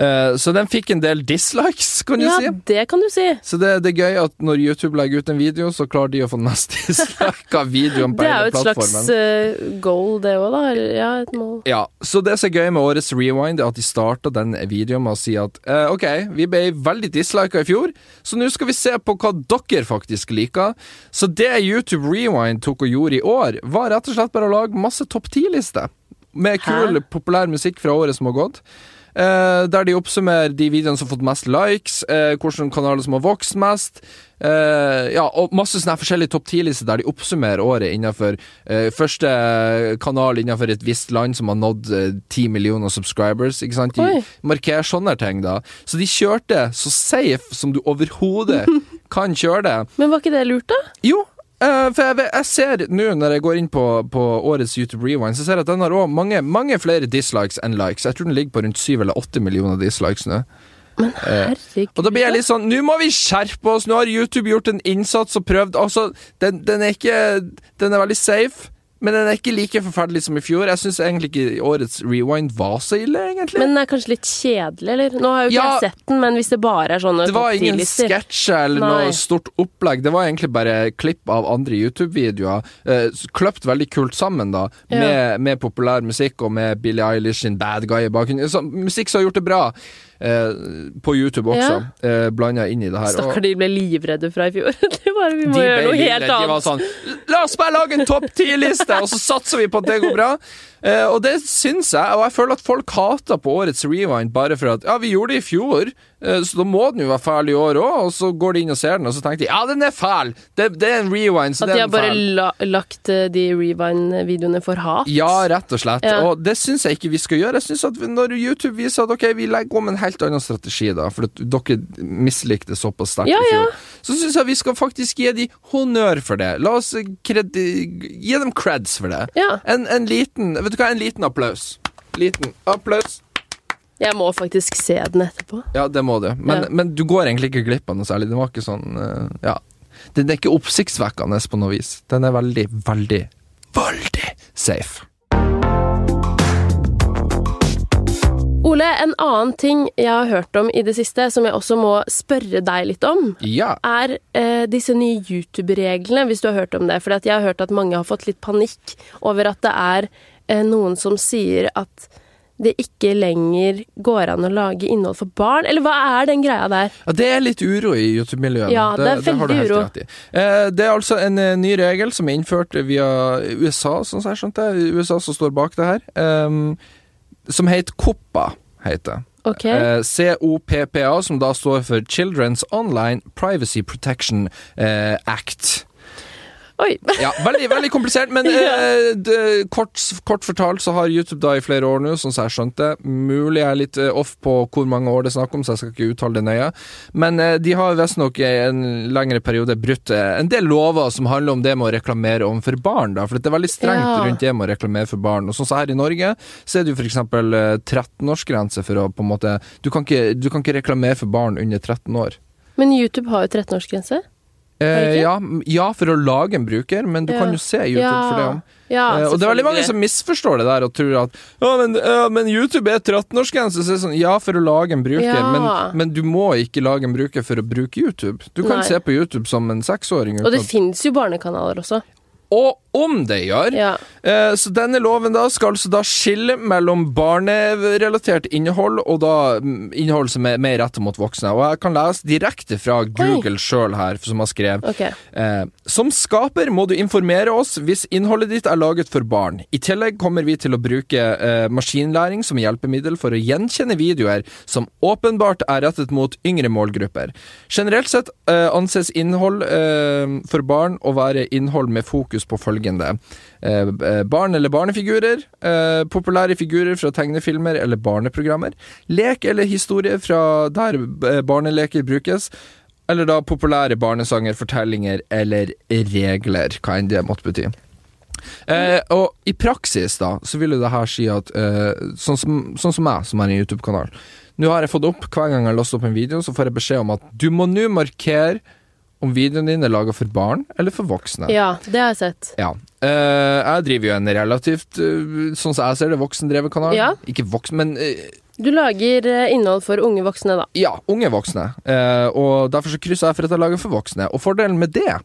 [SPEAKER 2] Eh, så den fikk en del dislikes, kan du
[SPEAKER 1] Ja,
[SPEAKER 2] si.
[SPEAKER 1] det kan du si.
[SPEAKER 2] Så det, det er gøy at når YouTube legger ut en video, så klarer de å få den mest dislika videoen på
[SPEAKER 1] Det er jo
[SPEAKER 2] hele
[SPEAKER 1] et
[SPEAKER 2] plattformen.
[SPEAKER 1] slags eh, goal, det òg, da. eller- Ja, et mål.
[SPEAKER 2] Ja, så det som er gøy med årets Rewind, er at de starta den videoen med å si at eh, ok, vi ble veldig dislika i fjor, så nå skal vi se på hva dere faktisk liker. Så det YouTube Rewind tok og gjorde i år, var rett og slett bare å lage masse topp ti-lister. Med kul,
[SPEAKER 1] Hæ?
[SPEAKER 2] populær musikk fra året som har gått. Eh, der de oppsummerer de videoene som har fått mest likes, eh, hvilke kanaler som har vokst mest. eh, ja, og masse sånne her forskjellige topp 10-lister der de oppsummerer året innenfor eh, første kanal innenfor et visst land som har nådd eh, 10 millioner subscribers. Ikke sant? De
[SPEAKER 1] Oi.
[SPEAKER 2] markerer sånne ting, da. Så de kjørte så safe som du overhodet kan kjøre det.
[SPEAKER 1] Men var ikke det lurt, da?
[SPEAKER 2] Jo, eh, for jeg, ve- jeg ser nå når jeg går inn på, på årets YouTube Rewind, så ser jeg at den har også mange, mange flere dislikes enn likes. Jeg tror den ligger på rundt 7 eller 8 millioner dislikes nå.
[SPEAKER 1] Men
[SPEAKER 2] Eh.
[SPEAKER 1] herregud.
[SPEAKER 2] Og da blir jeg litt sånn Nå må vi skjerpe oss! Nå har YouTube gjort en innsats og prøvd Altså, den, den er ikke Den er veldig safe. Men den er ikke like forferdelig som i fjor. Jeg syns egentlig ikke årets rewind var så ille, egentlig.
[SPEAKER 1] Men den er kanskje litt kjedelig, eller? Nå har jo ikke
[SPEAKER 2] Ja.
[SPEAKER 1] jeg sett den, men hvis det bare er sånne
[SPEAKER 2] Det var
[SPEAKER 1] topp
[SPEAKER 2] ingen
[SPEAKER 1] 10-lister.
[SPEAKER 2] sketsjer eller
[SPEAKER 1] Nei.
[SPEAKER 2] noe stort opplegg. Det var egentlig bare klipp av andre YouTube-videoer. Eh, s- kløpt veldig kult sammen, da.
[SPEAKER 1] Ja.
[SPEAKER 2] Med, med populær musikk og med Billie Eilish sin Bad Guy i bakgrunnen. Så, musikk som har gjort det bra. eh, på YouTube også, eh, blanda inn i det her.
[SPEAKER 1] Stakkar, de ble livredde fra i fjor. Det var, vi
[SPEAKER 2] de
[SPEAKER 1] må
[SPEAKER 2] ble
[SPEAKER 1] gjøre noe
[SPEAKER 2] livredde.
[SPEAKER 1] helt
[SPEAKER 2] De var
[SPEAKER 1] annet.
[SPEAKER 2] sånn La oss bare lage en topp ti-liste, og så satser vi på at det går bra. Eh, og det syns jeg, og jeg føler at folk hater på årets rewind bare for at Ja, vi gjorde det i fjor, eh, så da må den jo være fæl i år òg, og så går de inn og ser den, og så tenker de ja, den er fæl! Det, det er en rewind, så
[SPEAKER 1] At de
[SPEAKER 2] det
[SPEAKER 1] har
[SPEAKER 2] er en
[SPEAKER 1] bare
[SPEAKER 2] fæl.
[SPEAKER 1] la, lagt eh, de Rewind-videoene for hat.
[SPEAKER 2] Ja, rett og slett.
[SPEAKER 1] Ja.
[SPEAKER 2] Og det syns jeg ikke vi skal gjøre. Jeg synes at Når YouTube viser at ok, vi legger om en helt annen strategi, da, for at dere mislikte såpass sterkt
[SPEAKER 1] Ja,
[SPEAKER 2] i fjor, så syns jeg vi skal faktisk gi de honnør for det. La oss kredi gi dem creds for det.
[SPEAKER 1] Ja.
[SPEAKER 2] En, en liten Vet du hva, en liten applaus. Liten applaus.
[SPEAKER 1] Jeg må faktisk se den etterpå.
[SPEAKER 2] Ja, det må du. Men,
[SPEAKER 1] Ja.
[SPEAKER 2] men du går egentlig ikke glipp av noe særlig. Den var ikke sånn eh, Ja. Den er ikke oppsiktsvekkende på noe vis. Den er veldig, veldig, veldig safe.
[SPEAKER 1] Ole, en annen ting jeg har hørt om i det siste, som jeg også må spørre deg litt om,
[SPEAKER 2] Ja.
[SPEAKER 1] er eh, disse nye YouTube-reglene, hvis du har hørt om det. For jeg har hørt at mange har fått litt panikk over at det er eh, noen som sier at det ikke lenger går an å lage innhold for barn. Eller hva er den greia der?
[SPEAKER 2] Ja, Det er litt uro i YouTube-miljøet.
[SPEAKER 1] Ja, det er
[SPEAKER 2] har du
[SPEAKER 1] veldig
[SPEAKER 2] helt
[SPEAKER 1] uro.
[SPEAKER 2] rett i. Eh, det er altså en eh, ny regel som er innført via USA, sånn som jeg skjønte. USA som står bak det her. ehm, som heter COPPA, heter det.
[SPEAKER 1] Ok,
[SPEAKER 2] Eh, COPPA, som da står for Children's Online Privacy Protection eh, Act.
[SPEAKER 1] Oi.
[SPEAKER 2] Ja, veldig, veldig komplisert, men eh, det, kort, kort fortalt så har YouTube da i flere år nå, sånn som jeg skjønte. Mulig jeg er litt eh, off på hvor mange år det er snakk om, så jeg skal ikke uttale det nøye. Men eh, de har visstnok i en lengre periode brutt eh, en del lover som handler om det med å reklamere overfor barn, da. For det er veldig strengt
[SPEAKER 1] Ja.
[SPEAKER 2] rundt det med å reklamere for barn. Og sånn som her i Norge, så er det jo f.eks. 13-årsgrense for å på en måte du kan, ikke, du kan ikke reklamere for barn under 13 år.
[SPEAKER 1] Men YouTube har jo 13-årsgrense. Har det
[SPEAKER 2] Eh,
[SPEAKER 1] ikke?
[SPEAKER 2] ja, m- ja, for å lage en bruker, men du
[SPEAKER 1] Ja.
[SPEAKER 2] kan jo se YouTube for det òg.
[SPEAKER 1] Ja,
[SPEAKER 2] Eh, og det er veldig mange som misforstår det der og tror at ja, men, ja, men YouTube er 13-årsgrense, så er det sånn ja, for å lage en bruker,
[SPEAKER 1] Ja.
[SPEAKER 2] men, men du må ikke lage en bruker for å bruke YouTube. Du kan
[SPEAKER 1] Nei.
[SPEAKER 2] se på YouTube som en seksåring.
[SPEAKER 1] Og det
[SPEAKER 2] uten at-
[SPEAKER 1] fins jo barnekanaler også.
[SPEAKER 2] Og om det gjør!
[SPEAKER 1] Ja.
[SPEAKER 2] Eh, Så denne loven da skal altså da skille mellom barnerelatert innhold og da mm, innhold som er mer rettet mot voksne. Og jeg kan lese direkte fra Google sjøl her, som har skrevet
[SPEAKER 1] Ok.
[SPEAKER 2] Eh, som skaper må du informere oss hvis innholdet ditt er laget for barn. I tillegg kommer vi til å bruke eh, maskinlæring som hjelpemiddel for å gjenkjenne videoer som åpenbart er rettet mot yngre målgrupper. Generelt sett eh, anses innhold eh, for barn å være innhold med fokus på følgende. Eh, eh, barn eller barnefigurer, eh, populære figurer fra tegnefilmer eller barneprogrammer, lek eller historie fra der eh, barneleker brukes, eller da populære barnesanger, fortellinger eller regler, hva enn det måtte bety. Eh, og i praksis, da, så vil jo det her si at eh, sånn, som, sånn som jeg, som har en YouTube-kanal Nå har jeg fått opp hver gang jeg har lastet opp en video, så får jeg beskjed om at du må nå markere om videoen din er laga for barn eller for voksne.
[SPEAKER 1] Ja, det har jeg sett.
[SPEAKER 2] Ja. Eh, jeg driver jo en relativt, eh, sånn som jeg ser det, voksendrevet kanal.
[SPEAKER 1] Ja.
[SPEAKER 2] Ikke voksen, men eh,
[SPEAKER 1] Du lager eh, innhold for unge voksne, da.
[SPEAKER 2] ja, unge voksne. Eh, og derfor så krysser jeg for at jeg lager for voksne. Og fordelen med det er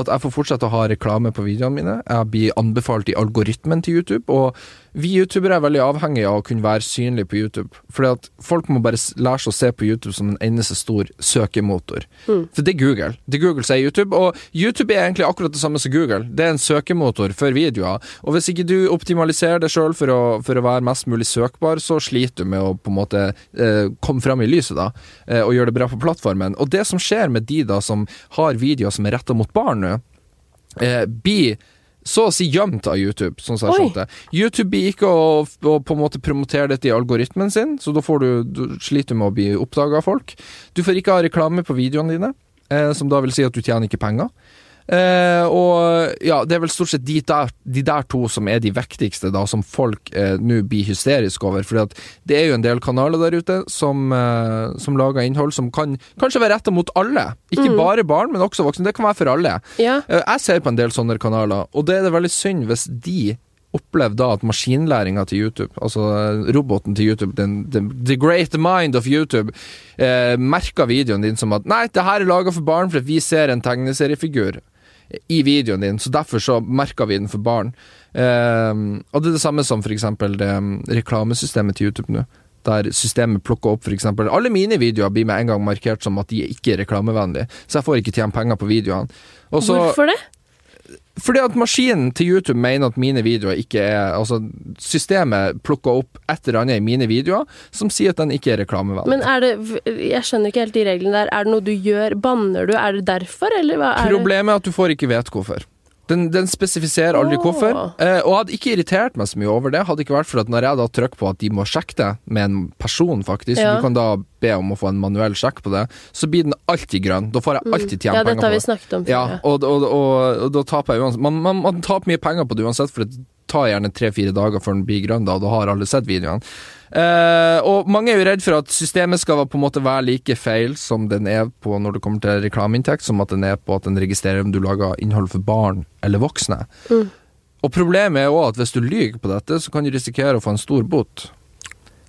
[SPEAKER 2] at jeg får fortsette å ha reklame på videoene mine. Jeg blir anbefalt i algoritmen til YouTube, og vi youtubere er veldig avhengige av å kunne være synlige på YouTube. Fordi at folk må bare s- lære seg å se på YouTube som en eneste stor søkemotor. For det er Google. Det er Google som er YouTube, og YouTube er egentlig akkurat det samme som Google. Det er en søkemotor for videoer, og hvis ikke du optimaliserer det sjøl for, å- for å være mest mulig søkbar, så sliter du med å på en måte eh, komme fram i lyset, da, eh, og gjøre det bra på plattformen. Og det som skjer med de da som har videoer som er retta mot barn nå, eh, blir så å si gjemt av YouTube, sånn som jeg
[SPEAKER 1] Oi.
[SPEAKER 2] skjønte. YouTube blir ikke å, å på en måte promotere dette i algoritmen sin, så da får du, du sliter du med å bli oppdaga av folk. Du får ikke ha reklame på videoene dine, eh, som da vil si at du tjener ikke penger. Eh, og ja, det er vel stort sett de der, de der to som er de viktigste, da, som folk eh, nå blir hysteriske over. For det er jo en del kanaler der ute som, eh, som lager innhold som kan kanskje være retta mot alle. Ikke bare barn, men også voksne. Det kan være for alle.
[SPEAKER 1] Ja.
[SPEAKER 2] Eh, Jeg ser på en del sånne kanaler, og det er det veldig synd hvis de opplever da at maskinlæringa til YouTube, altså eh, roboten til YouTube, den, den, the great mind of YouTube, eh, merker videoen din som at nei, det her er laga for barn fordi vi ser en tegneseriefigur i videoen din, så derfor så merker vi den for barn. Eh, og det er det samme som for eksempel det mm, reklamesystemet til YouTube nå. der systemet plukker opp f.eks. Alle mine videoer blir med en gang markert som at de ikke er reklamevennlige, så jeg får ikke tjene penger på videoene. Og så-
[SPEAKER 1] Hvorfor det?
[SPEAKER 2] fordi at maskinen til YouTube mener at mine videoer ikke er Altså, systemet plukker opp et eller annet i mine videoer som sier at den ikke er
[SPEAKER 1] Men
[SPEAKER 2] reklamevennlig.
[SPEAKER 1] er det Jeg skjønner ikke helt de reglene der. Er det noe du gjør? Banner du? Er det derfor, eller hva er det?
[SPEAKER 2] Problemet er at du får ikke vite hvorfor. Den, den spesifiserer aldri
[SPEAKER 1] Åh.
[SPEAKER 2] hvorfor. Eh, og hadde ikke irritert meg så mye over det, hadde ikke vært for at når jeg da trykker på at de må sjekke det med en person, faktisk,
[SPEAKER 1] Ja.
[SPEAKER 2] du kan da be om å få en manuell sjekk på det, så blir den alltid grønn. Da får jeg alltid tjene
[SPEAKER 1] Mm. Ja,
[SPEAKER 2] penger
[SPEAKER 1] dette
[SPEAKER 2] på
[SPEAKER 1] har
[SPEAKER 2] det.
[SPEAKER 1] vi snakket om
[SPEAKER 2] Ja,
[SPEAKER 1] før.
[SPEAKER 2] og, og, og, og da taper jeg uansett. Man, man, man taper mye penger på det uansett, for det tar gjerne tre-fire dager før den blir grønn, da, og da har alle sett videoene. Eh, og mange er jo redd for at systemet skal på en måte være like feil som den er på når det kommer til reklameinntekt, som at den er på at den registrerer om du lager innhold for barn eller voksne.
[SPEAKER 1] Mm.
[SPEAKER 2] Og problemet er òg at hvis du lyver på dette, så kan du risikere å få en stor bot.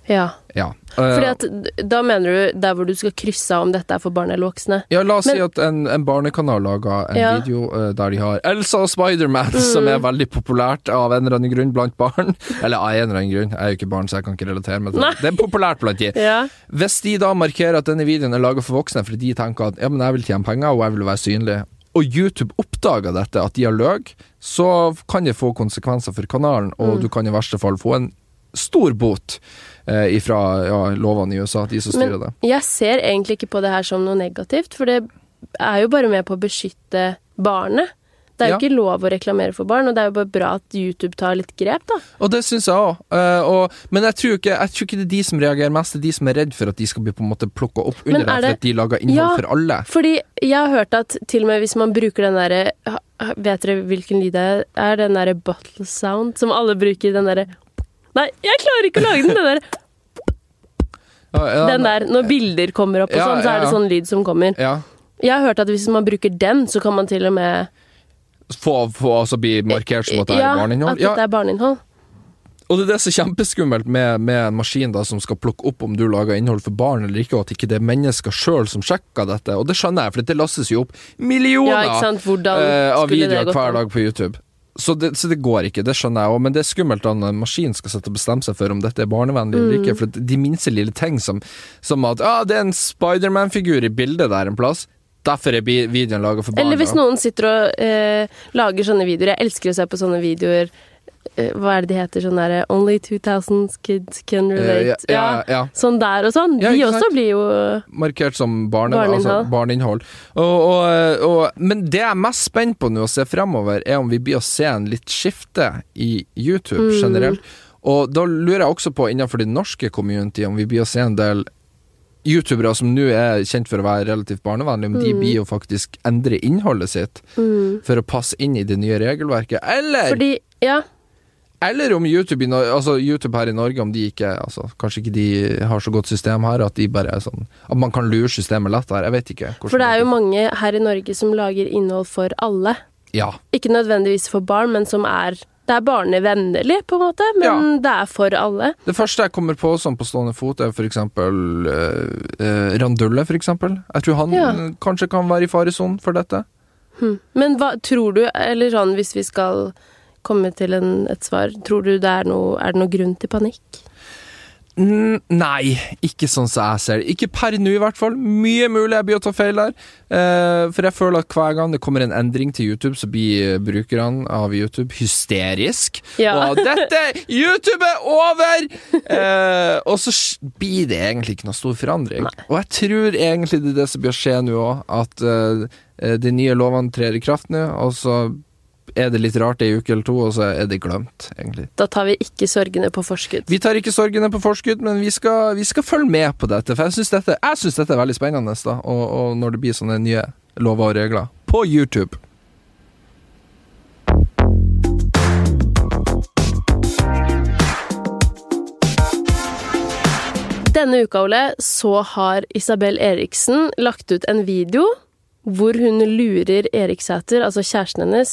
[SPEAKER 1] Ja. ja.
[SPEAKER 2] Ja.
[SPEAKER 1] Fordi
[SPEAKER 2] Eh,
[SPEAKER 1] at d- Da mener du der hvor du skal krysse av om dette er for barn eller voksne?
[SPEAKER 2] Ja, la oss
[SPEAKER 1] Men-
[SPEAKER 2] si at en, en barnekanal laga en
[SPEAKER 1] Ja. Mm.
[SPEAKER 2] video eh, der de har Elsa og Spiderman, som er veldig populært av en eller annen grunn blant barn. Eller av en eller annen grunn, jeg er jo ikke barn, så jeg kan ikke relatere meg til
[SPEAKER 1] Nei.
[SPEAKER 2] det. Det er populært blant de.
[SPEAKER 1] Ja.
[SPEAKER 2] Hvis de da markerer at denne videoen er laga for voksne fordi de tenker at ja, men jeg vil tjene penger, og jeg vil være synlig, og YouTube oppdager dette, at de har løg, så kan det få konsekvenser for kanalen, og
[SPEAKER 1] Mm.
[SPEAKER 2] du kan i verste fall få en stor bot eh, ifra ja, lovene i USA, de som styrer det.
[SPEAKER 1] Jeg ser egentlig ikke på det her som noe negativt, for det er jo bare med på å beskytte barnet. Det er jo
[SPEAKER 2] Ja.
[SPEAKER 1] ikke lov å reklamere for barn, og det er jo bare bra at YouTube tar litt grep, da.
[SPEAKER 2] Og det syns jeg òg. men jeg tror, ikke, jeg tror ikke det er de som reagerer mest, det er de som er redd for at de skal bli på en måte plukka opp
[SPEAKER 1] Men
[SPEAKER 2] under
[SPEAKER 1] er
[SPEAKER 2] det,
[SPEAKER 1] det-
[SPEAKER 2] for at de lager innhold
[SPEAKER 1] Ja.
[SPEAKER 2] for alle.
[SPEAKER 1] Fordi jeg har hørt at til og med hvis man bruker den derre ha- Vet dere hvilken lyd det er? Den derre bottle sound som alle bruker, den derre Nei, jeg klarer ikke å lage den! Den der,
[SPEAKER 2] Ja, ja,
[SPEAKER 1] den der når bilder kommer opp og
[SPEAKER 2] Ja,
[SPEAKER 1] sånn, så
[SPEAKER 2] ja,
[SPEAKER 1] er det
[SPEAKER 2] ja.
[SPEAKER 1] sånn lyd som kommer.
[SPEAKER 2] Ja.
[SPEAKER 1] Jeg har hørt at hvis man bruker den, så kan man til og med
[SPEAKER 2] Få, få altså bli markert som at det
[SPEAKER 1] Ja,
[SPEAKER 2] er barneinnhold.
[SPEAKER 1] At
[SPEAKER 2] Ja,
[SPEAKER 1] det er barneinnhold.
[SPEAKER 2] og det er det som er kjempeskummelt med, med en maskin da, som skal plukke opp om du lager innhold for barn eller ikke, og at ikke det er mennesker sjøl som sjekker dette. Og det skjønner jeg, for det lastes jo opp
[SPEAKER 1] Ja,
[SPEAKER 2] millioner
[SPEAKER 1] ikke sant. Hvordan
[SPEAKER 2] eh, av
[SPEAKER 1] skulle det
[SPEAKER 2] videoer
[SPEAKER 1] gått?
[SPEAKER 2] hver
[SPEAKER 1] an?
[SPEAKER 2] dag på YouTube. Så det, så det går ikke, det skjønner jeg òg, men det er skummelt da når en maskin skal sitte og bestemme seg for om dette er barnevennlig eller
[SPEAKER 1] Mm.
[SPEAKER 2] ikke, for de minste lille ting som, som at ah, det er en Spiderman-figur i bildet der en plass, derfor er bi- videoen laga for barn.
[SPEAKER 1] Eller hvis
[SPEAKER 2] da.
[SPEAKER 1] noen sitter og eh, lager sånne videoer. Jeg elsker å se på sånne videoer. Eh, hva er det de heter? Sånn derre Only 2000 kids can
[SPEAKER 2] Eh,
[SPEAKER 1] relate.
[SPEAKER 2] ja, ja, ja,
[SPEAKER 1] Sånn der og sånn.
[SPEAKER 2] Ja,
[SPEAKER 1] de
[SPEAKER 2] ikke
[SPEAKER 1] også
[SPEAKER 2] sant?
[SPEAKER 1] blir jo
[SPEAKER 2] markert som barne, barneinnhold.
[SPEAKER 1] Barneinnhold.
[SPEAKER 2] Altså barneinnhold. Og, og, og, men det jeg er mest spent på nå å se fremover, er om vi blir å se en litt skifte i YouTube
[SPEAKER 1] Mm.
[SPEAKER 2] generelt. Og da lurer jeg også på, innenfor det norske community, om vi blir å se en del youtubere som nå er kjent for å være relativt barnevennlige, om de
[SPEAKER 1] Mm.
[SPEAKER 2] blir å faktisk endre innholdet sitt
[SPEAKER 1] mm.
[SPEAKER 2] for å passe inn i det nye regelverket. Eller,
[SPEAKER 1] Fordi Ja.
[SPEAKER 2] eller om YouTube, i Nor- altså YouTube her i Norge, om de ikke altså, Kanskje ikke de har så godt system her, at de bare er sånn At man kan lure systemet lett her. Jeg vet ikke. hvordan
[SPEAKER 1] For det er jo mange her i Norge som lager innhold for alle.
[SPEAKER 2] Ja.
[SPEAKER 1] Ikke nødvendigvis for barn, men som er Det er barnevennlig, på en måte, men det er for alle.
[SPEAKER 2] Det første jeg kommer på sånn på stående fot, er for eksempel eh, eh, Randulle, for eksempel. Jeg tror han
[SPEAKER 1] Ja.
[SPEAKER 2] eh, kanskje kan være i faresonen for dette.
[SPEAKER 1] Hm. Men hva tror du, eller sånn hvis vi skal komme til en, et svar, tror du det er noe, er det noe grunn til panikk?
[SPEAKER 2] Mm, nei, ikke sånn som jeg ser det. Ikke per nå, i hvert fall. Mye mulig jeg blir å ta feil der. Eh, for jeg føler at hver gang det kommer en endring til YouTube, så blir eh, brukerne av YouTube hysterisk.
[SPEAKER 1] Ja.
[SPEAKER 2] Og dette! YouTube er over! Eh, og så s- blir det egentlig ikke noe stor forandring. Og jeg tror egentlig det er det som bør skje nå òg, at eh, de nye lovene trer i kraft nå, og så er det litt rart ei uke eller to, og så er det glemt, egentlig.
[SPEAKER 1] Da tar vi ikke sorgene på forskudd.
[SPEAKER 2] Vi tar ikke sorgene på forskudd, men vi skal, vi skal følge med på dette. For jeg syns dette, jeg synes dette er veldig spennende, da, og, og når det blir sånne nye lover og regler på YouTube.
[SPEAKER 1] Denne uka, Ole, så har Isabel Eriksen lagt ut en video hvor hun lurer Eriksæter, altså kjæresten hennes,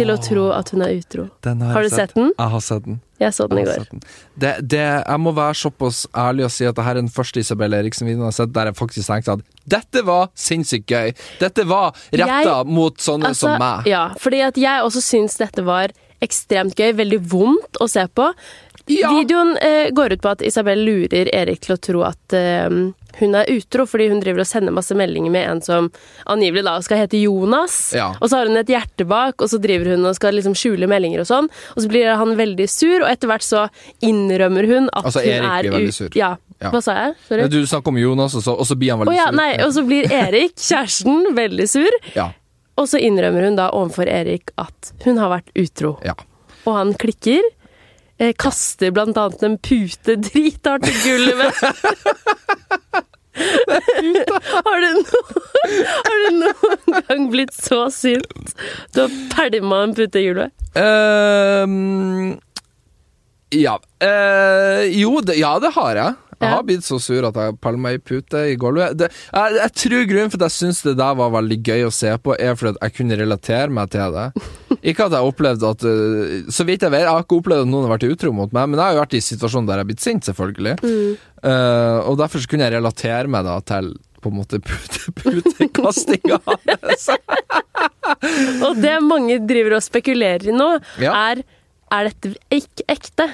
[SPEAKER 1] til å tro at hun er utro.
[SPEAKER 2] den
[SPEAKER 1] Har du sett den?
[SPEAKER 2] Jeg har sett den.
[SPEAKER 1] Jeg så den i
[SPEAKER 2] Jeg har
[SPEAKER 1] går.
[SPEAKER 2] sett den. Det, det, jeg må være såpass ærlig og si at det her er den første Isabel Eriksen-videoen jeg har sett der jeg faktisk tenkte at dette var sinnssykt gøy. Dette var retta
[SPEAKER 1] Jeg-
[SPEAKER 2] mot sånne
[SPEAKER 1] Altså,
[SPEAKER 2] som meg.
[SPEAKER 1] Ja, fordi at jeg også syns dette var ekstremt gøy. Veldig vondt å se på.
[SPEAKER 2] Ja!
[SPEAKER 1] Videoen eh, går ut på at Isabel lurer Erik til å tro at eh, hun er utro, fordi hun driver og sender masse meldinger med en som angivelig da skal hete Jonas.
[SPEAKER 2] Ja.
[SPEAKER 1] Og så har hun et hjerte bak, og så driver hun og skal liksom skjule meldinger og sånn. Og så blir han veldig sur, og etter hvert så innrømmer hun at
[SPEAKER 2] Altså,
[SPEAKER 1] hun
[SPEAKER 2] Erik
[SPEAKER 1] er
[SPEAKER 2] blir veldig
[SPEAKER 1] ut-
[SPEAKER 2] sur.
[SPEAKER 1] Ja.
[SPEAKER 2] Ja.
[SPEAKER 1] Hva sa jeg? Sorry.
[SPEAKER 2] Du snakker om Jonas, og så, og så blir
[SPEAKER 1] Å
[SPEAKER 2] han veldig
[SPEAKER 1] ja,
[SPEAKER 2] sur.
[SPEAKER 1] nei, og så blir Erik, kjæresten, veldig sur.
[SPEAKER 2] Ja,
[SPEAKER 1] Og så innrømmer hun da overfor Erik at hun har vært utro.
[SPEAKER 2] ja.
[SPEAKER 1] Og han klikker. Eh, kaster blant annet en pute drithardt i gulvet. har, du no, har du noen gang blitt så sint? Du har pælma en pute i gulvet?
[SPEAKER 2] Ehm, ja. Eh, jo, det, ja, det har jeg. Jeg
[SPEAKER 1] Ja.
[SPEAKER 2] har blitt så sur at jeg palma ei pute i gulvet. Det, jeg, jeg tror grunnen for at jeg syns det der var veldig gøy å se på, er fordi at jeg kunne relatere meg til det. Ikke at jeg opplevde at eh, Så vidt jeg vet, jeg har ikke opplevd at noen har vært utro mot meg, men jeg har jo vært i situasjoner der jeg har blitt sint, selvfølgelig. Eh, og derfor så kunne jeg relatere meg da til på en måte pute- putekastinga hans.
[SPEAKER 1] Og det mange driver og spekulerer i nå,
[SPEAKER 2] Ja.
[SPEAKER 1] er er dette ikke ekte.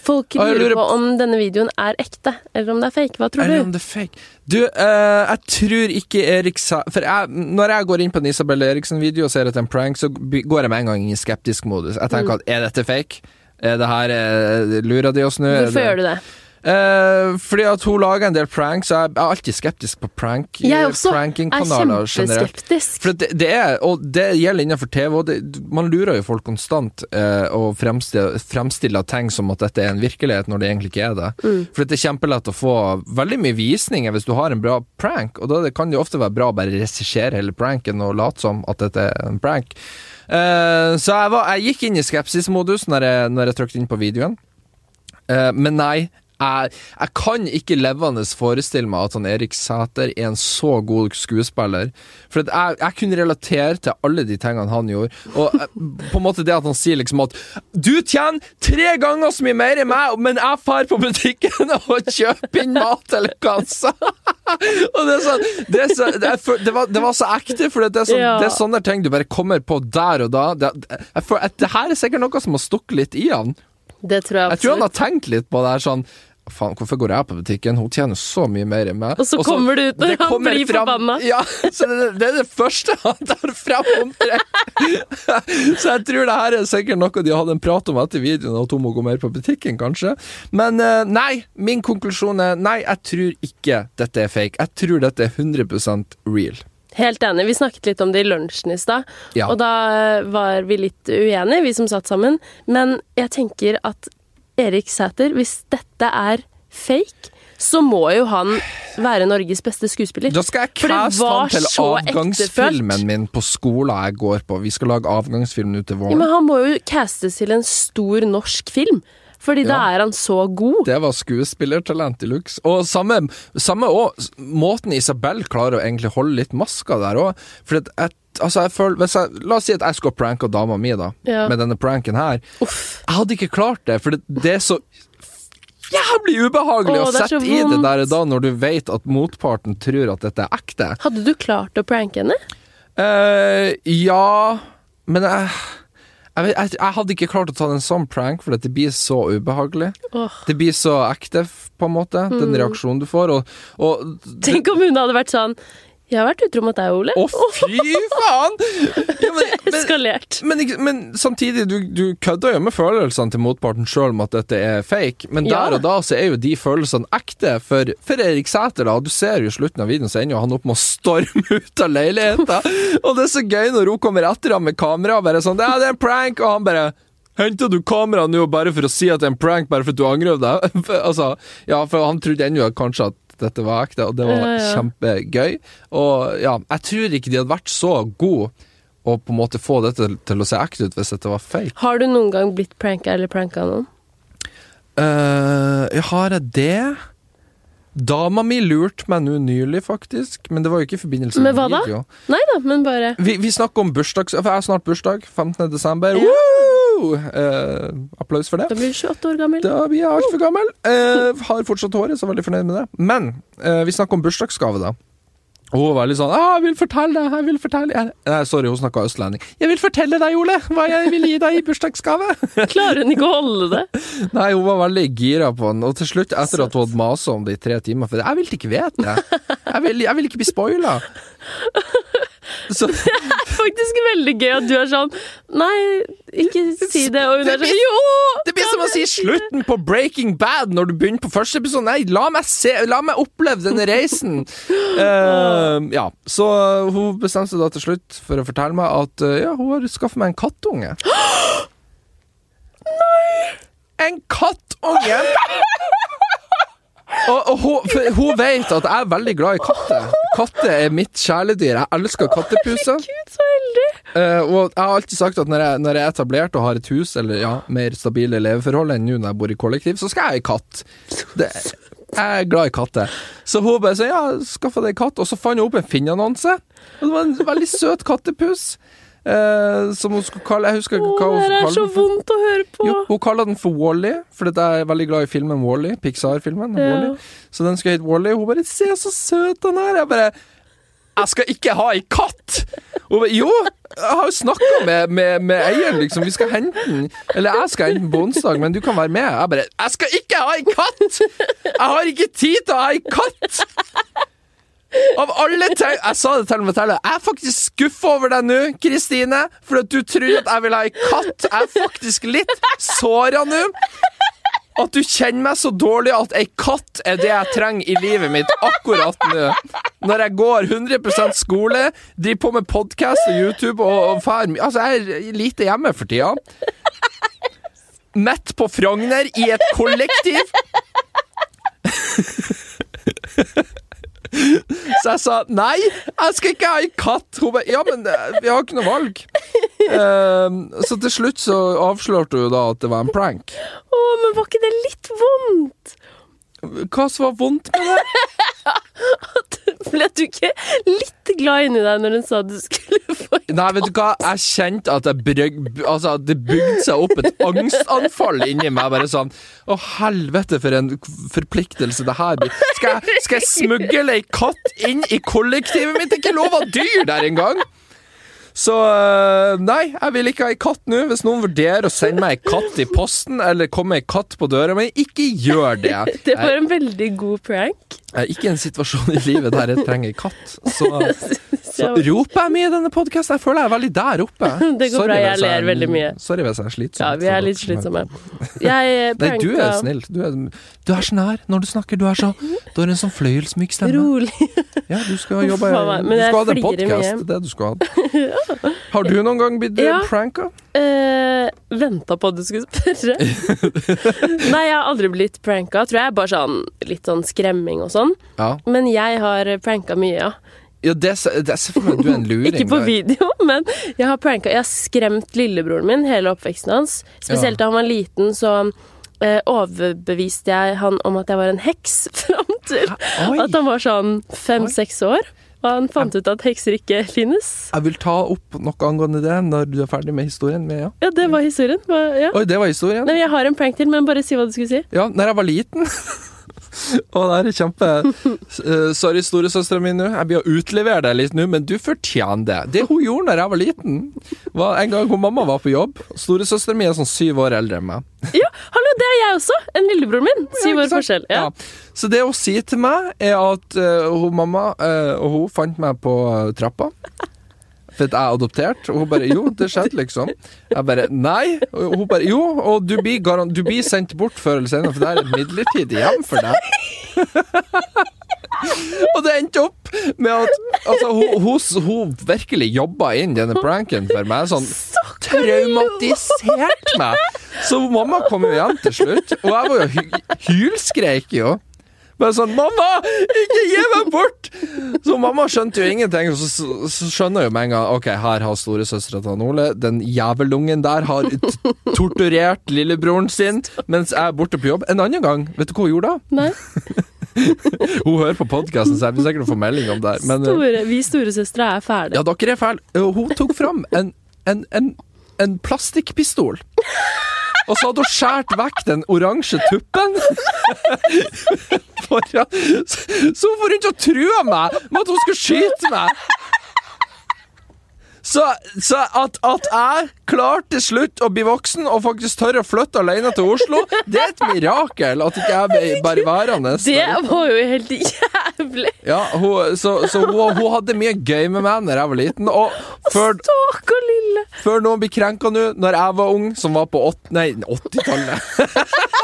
[SPEAKER 1] Folk
[SPEAKER 2] Og jeg
[SPEAKER 1] lurer
[SPEAKER 2] lurer
[SPEAKER 1] på om denne videoen er ekte, eller om det er fake. Hva tror
[SPEAKER 2] Eller om
[SPEAKER 1] du?
[SPEAKER 2] det er fake. Du, eh, jeg tror ikke Erik sa For jeg, når jeg går inn på en Isabel Eriksen-video og ser at det er en prank, så by- går jeg med en gang inn i skeptisk modus. Jeg tenker
[SPEAKER 1] Mm.
[SPEAKER 2] at er dette fake? Er det her eh, Lurer de oss nå?
[SPEAKER 1] Hvorfor gjør du det?
[SPEAKER 2] Eh, fordi at hun lager en del pranks, og jeg er alltid skeptisk på prank eh,
[SPEAKER 1] Jeg også er
[SPEAKER 2] prankingkanaler generelt.
[SPEAKER 1] kjempeskeptisk.
[SPEAKER 2] For det, det er, og det gjelder innenfor TV, og det, man lurer jo folk konstant eh, og fremstiller, fremstiller ting som at dette er en virkelighet, når det egentlig ikke er det. For det er kjempelett å få veldig mye visninger hvis du har en bra prank, og da det kan det jo ofte være bra å bare regissere hele pranken og late som at dette er en prank. Eh, så jeg, var, jeg gikk inn i skepsismodus når jeg, når jeg trykte inn på videoen. Eh, men nei, jeg, jeg kan ikke levende forestille meg at han Erik Sæter er en så god skuespiller. For at jeg, jeg kunne relatere til alle de tingene han gjorde. Og eh, på en måte det at han sier liksom at Du tjener tre ganger så mye mer enn meg, men jeg drar på butikken og kjøper inn mat eller kassa! og det er sånn Det, er så, det, er, for- det, var, det var så ekte, for det er, sånn,
[SPEAKER 1] Ja.
[SPEAKER 2] det er sånne ting du bare kommer på der og da. Det, jeg, føler at det her er sikkert noe som har stukket litt i han.
[SPEAKER 1] Det tror jeg
[SPEAKER 2] Jeg tror han
[SPEAKER 1] absolutt.
[SPEAKER 2] har tenkt litt på det her sånn Faen, hvorfor går jeg på butikken? Hun tjener så mye mer enn meg.
[SPEAKER 1] Og så kommer det ut når
[SPEAKER 2] det
[SPEAKER 1] han
[SPEAKER 2] kommer
[SPEAKER 1] blir
[SPEAKER 2] fram-
[SPEAKER 1] forbanna.
[SPEAKER 2] Ja, så det, det er det første han tar fram omtrent. så jeg tror det her er sikkert noe de hadde en prat om etter videoen, at hun må gå mer på butikken, kanskje. Men eh, nei, min konklusjon er nei, jeg tror ikke dette er fake. Jeg tror dette er 100 real.
[SPEAKER 1] Helt enig. Vi snakket litt om det i lunsjen i stad,
[SPEAKER 2] Ja.
[SPEAKER 1] og da eh, var vi litt uenige, vi som satt sammen. Men jeg tenker at Erik Sæther, hvis dette er fake, så må jo han være Norges beste skuespiller.
[SPEAKER 2] Da skal jeg
[SPEAKER 1] For det
[SPEAKER 2] caste
[SPEAKER 1] var
[SPEAKER 2] han til
[SPEAKER 1] så ektefølt.
[SPEAKER 2] avgangsfilmen min på skolen jeg går på. Vi skal lage avgangsfilm nå til
[SPEAKER 1] Ja,
[SPEAKER 2] våren.
[SPEAKER 1] men han må jo castes til en stor norsk film, fordi da
[SPEAKER 2] Ja.
[SPEAKER 1] er han så god.
[SPEAKER 2] Det var skuespillertalent i lux. Og samme, samme også, måten Isabel klarer å egentlig holde litt maska der òg. For at jeg, altså jeg føler, hvis jeg, la oss si at jeg skulle pranke dama mi da,
[SPEAKER 1] Ja.
[SPEAKER 2] med denne pranken her.
[SPEAKER 1] Uff.
[SPEAKER 2] Jeg hadde ikke klart det, for det, det er så jævlig ubehagelig
[SPEAKER 1] Åh,
[SPEAKER 2] å
[SPEAKER 1] det er så
[SPEAKER 2] sette i det
[SPEAKER 1] vondt.
[SPEAKER 2] der og da, når du vet at motparten tror at dette er ekte.
[SPEAKER 1] Hadde du klart å pranke henne?
[SPEAKER 2] Eh, ja Men jeg, jeg, vet, jeg, jeg hadde ikke klart å ta en sånn prank, for at det blir så ubehagelig.
[SPEAKER 1] Åh.
[SPEAKER 2] Det blir så ekte, f- på en måte, den reaksjonen du får. Og, og
[SPEAKER 1] Tenk om hun hadde vært sånn Jeg har vært utro mot deg, Ole.
[SPEAKER 2] Å, fy faen! Ja, men, men,
[SPEAKER 1] Eskalert.
[SPEAKER 2] men, ikke- men samtidig, du, du kødder jo med følelsene til motparten sjøl om at dette er fake, men
[SPEAKER 1] Ja.
[SPEAKER 2] der og da så er jo de følelsene ekte for, for Erik Sæter. da. Du ser jo i slutten av videoen så ender jo han opp med å storme ut av leiligheten. og det er så gøy når hun kommer etter ham med kamera og bare sånn Ja, det er en prank! Og han bare Henta du kameraet nå bare for å si at det er en prank, bare for at du angrer deg? For, altså, ja, for han trodde ennå kanskje at dette var ekte, og det var
[SPEAKER 1] Ja, ja.
[SPEAKER 2] kjempegøy. Og ja, jeg tror ikke de hadde vært så gode å på en måte få dette til å se ekte ut hvis dette var fake.
[SPEAKER 1] Har du noen gang blitt pranka eller pranka noen?
[SPEAKER 2] Eh, har jeg det? Dama mi lurte meg nå nylig, faktisk, men det var jo ikke i forbindelse med,
[SPEAKER 1] Med hva da?
[SPEAKER 2] video.
[SPEAKER 1] Nei da, men bare
[SPEAKER 2] Vi, vi snakker om bursdags... For jeg har snart bursdag. 15. desember.
[SPEAKER 1] Ja.
[SPEAKER 2] Woo! Eh, applaus for det.
[SPEAKER 1] Da blir du 28 år gammel.
[SPEAKER 2] Da blir jeg altfor gammel. Eh, har fortsatt håret, så er jeg veldig fornøyd med det. Men eh, vi snakker om bursdagsgave, da. Og hun var litt sånn ah, 'Jeg vil fortelle deg, jeg vil fortelle jeg, Nei, sorry, hun snakka østlending. 'Jeg vil fortelle deg, Ole, hva jeg vil gi deg i bursdagsgave'.
[SPEAKER 1] Klarer hun ikke å holde det?
[SPEAKER 2] Nei, hun var veldig gira på den, og til slutt, etter at hun hadde masa om det i tre timer For jeg vil ikke vite det! Jeg vil, jeg vil ikke bli spoila! Så
[SPEAKER 1] Det er faktisk veldig gøy at du er sånn Nei, ikke si det. Og hun er sånn Jo!
[SPEAKER 2] det blir som å si slutten på Breaking Bad når du begynner på første episode. Nei, la meg, se, la meg oppleve denne reisen! Eh, ja, så hun bestemte seg da til slutt for å fortelle meg at eh, ja, hun har skaffet meg en kattunge. Nei! En kattunge! Og, og hun, for hun vet at jeg er veldig glad i katter. Katter er mitt kjæledyr. Jeg elsker kattepuser.
[SPEAKER 1] Gud, så heldig.
[SPEAKER 2] Eh, og jeg har alltid sagt at når jeg, når jeg er etablert og har et hus, eller ja, mer stabile leveforhold enn nå når jeg bor i kollektiv, så skal jeg ha en katt. Det, jeg er glad i katter. Så hun bare sa ja, skaffa deg katt, og så fant hun opp en Finn-annonse. Og det var en veldig søt kattepus eh, som hun skulle kalle Jeg husker ikke hva
[SPEAKER 1] Å,
[SPEAKER 2] hun
[SPEAKER 1] det her
[SPEAKER 2] kalte
[SPEAKER 1] er så
[SPEAKER 2] den for.
[SPEAKER 1] vondt å høre på.
[SPEAKER 2] Jo, hun kaller den for Wally, fordi jeg er veldig glad i filmen Wally, Pixar-filmen.
[SPEAKER 1] Ja.
[SPEAKER 2] Wall-E. Så den skal hete Wally. Hun bare 'Se, så søt han er'. Jeg bare 'Jeg skal ikke ha ei katt'! Hun bare 'Jo, jeg har jo snakka med, med, med eieren, liksom. Vi skal hente den. Eller jeg skal hente den på onsdag, men du kan være med. Jeg bare 'Jeg skal ikke ha ei katt! Jeg har ikke tid til å ha ei katt!' Av alle ting Jeg sa det til og med til deg. Jeg er faktisk skuffa over deg nå, Kristine. For at du tror at jeg vil ha ei katt. Jeg er faktisk litt såra nå. At du kjenner meg så dårlig at ei katt er det jeg trenger i livet mitt akkurat nå. Når jeg går 100 skole, driver på med podkast og YouTube og, og fær Altså, jeg er lite hjemme for tida. Midt på Frogner, i et kollektiv. Så jeg sa nei, jeg skal ikke ha en katt. Hun bare ja, men eh, vi har ikke noe valg. Ehm, så til slutt så avslørte hun da at det var en prank.
[SPEAKER 1] Å, men var ikke det litt vondt?
[SPEAKER 2] Hva som var vondt med det?
[SPEAKER 1] Ble du ikke litt glad inni deg når hun sa du skulle få
[SPEAKER 2] Nei, vet du hva, jeg kjente at jeg brøg- altså, at det bygde seg opp et angstanfall inni meg. Bare sånn Å, helvete, for en forpliktelse det her blir. Skal, jeg- skal jeg smugle ei katt inn i kollektivet mitt? Det er ikke lov å ha dyr der engang! Så øh, nei, jeg vil ikke ha ei katt nå. Hvis noen vurderer å sende meg ei katt i posten, eller komme ei katt på døra mi, ikke gjør det.
[SPEAKER 1] Det var en veldig god prank.
[SPEAKER 2] Jeg er ikke i en situasjon i livet der jeg trenger ei katt. Så
[SPEAKER 1] Så
[SPEAKER 2] så roper jeg mye i denne podkasten. Jeg føler jeg er veldig der oppe.
[SPEAKER 1] Det går bra, jeg
[SPEAKER 2] hvis
[SPEAKER 1] ler veldig mye.
[SPEAKER 2] Sorry hvis jeg er slitsom.
[SPEAKER 1] Ja, vi er litt slitsomme. Jeg
[SPEAKER 2] Nei, du er
[SPEAKER 1] pranka
[SPEAKER 2] snill. Du er, du er så nær når du snakker. Du er så Du har en sånn fløyelsmyk stemme.
[SPEAKER 1] rolig.
[SPEAKER 2] Ja, du skal jobbe
[SPEAKER 1] Faen meg,
[SPEAKER 2] Du
[SPEAKER 1] men jeg
[SPEAKER 2] skal ha en
[SPEAKER 1] flirer
[SPEAKER 2] podkast.
[SPEAKER 1] mye.
[SPEAKER 2] Det er det du skal ha. Har du noen gang blitt
[SPEAKER 1] Ja.
[SPEAKER 2] eh, pranka?
[SPEAKER 1] Uh, Venta på at du skulle spørre. Nei, jeg har aldri blitt pranka. Tror jeg bare sånn litt sånn skremming og sånn.
[SPEAKER 2] Ja.
[SPEAKER 1] Men jeg har pranka mye, ja.
[SPEAKER 2] ja det, ser- det ser for meg at du er en luring.
[SPEAKER 1] Ikke på
[SPEAKER 2] der.
[SPEAKER 1] video, men jeg har pranka Jeg har skremt lillebroren min hele oppveksten hans. Spesielt da han var liten, så eh, overbeviste jeg han om at jeg var en heks, fram til
[SPEAKER 2] Oi.
[SPEAKER 1] at han var sånn fem-seks år. Og han fant ut at hekser ikke finnes.
[SPEAKER 2] Jeg vil ta opp noe angående det når du er ferdig med historien. Men ja.
[SPEAKER 1] Ja, det var historien. Hva- Ja.
[SPEAKER 2] Oi, det var historien.
[SPEAKER 1] Nei, men jeg har en prank til, men bare si hva du skulle si.
[SPEAKER 2] Ja, når jeg var liten Og det her er kjempe Eh, Sorry, storesøsteren min nå Jeg blir å utlevere deg litt nå Men du fortjener det Det hun gjorde når jeg var liten Var en gang hun mamma var på jobb Storesøsteren min er sånn syv år eldre enn meg
[SPEAKER 1] Ja, hallo, det er jeg også! En lillebror min. Syv år
[SPEAKER 2] Ja, ikke sant?
[SPEAKER 1] forskjell. Ja.
[SPEAKER 2] Ja. Så det hun sier til meg, er at eh, hun, mamma eh, og hun fant meg på eh, trappa. For at jeg er adoptert. Og hun bare 'Jo, det skjedde', liksom. Jeg bare 'Nei'. Og hun bare 'Jo, og du blir, garan du blir sendt bort før eller senere, for det er et midlertidig hjem for deg'. og det endte opp med at altså, hun, hun, hun virkelig jobba inn denne pranken for meg. Sånn traumatisert meg. Så mamma kom jo hjem til slutt, og jeg var jo hy hylskreik jo. Bare sånn 'Mamma, ikke gi meg bort!' Så mamma skjønte jo ingenting. og Så, så, så skjønner jeg jo med en gang Ok, her har storesøstera til han Ole Den jævelungen der har t- torturert lillebroren sin mens jeg er borte på jobb. En annen gang, vet du hva hun gjorde da?
[SPEAKER 1] Nei,
[SPEAKER 2] Hun hører på podkasten, så jeg blir sikkert å få melding om det her. Men, eh,
[SPEAKER 1] store, vi storesøstre er ferdige.
[SPEAKER 2] ja, dere er Eh, fæle. Hun tok fram en, en, en, en plastikkpistol. Og så hadde hun skåret vekk den oransje tuppen. Foran. Så så hun for rundt og trua meg med at hun skulle skyte meg. Så, så at, at jeg klarte til slutt å bli voksen og faktisk tør å flytte alene til Oslo, det er et mirakel at ikke jeg ble bare værende.
[SPEAKER 1] Det var jo helt jævlig.
[SPEAKER 2] Ja, hun, så, så hun, hun hadde mye gøy med meg da jeg var liten. Og før,
[SPEAKER 1] Stakkar lille.
[SPEAKER 2] før noen blir krenka nå, når jeg var ung, som var på ått- nei, 80-tallet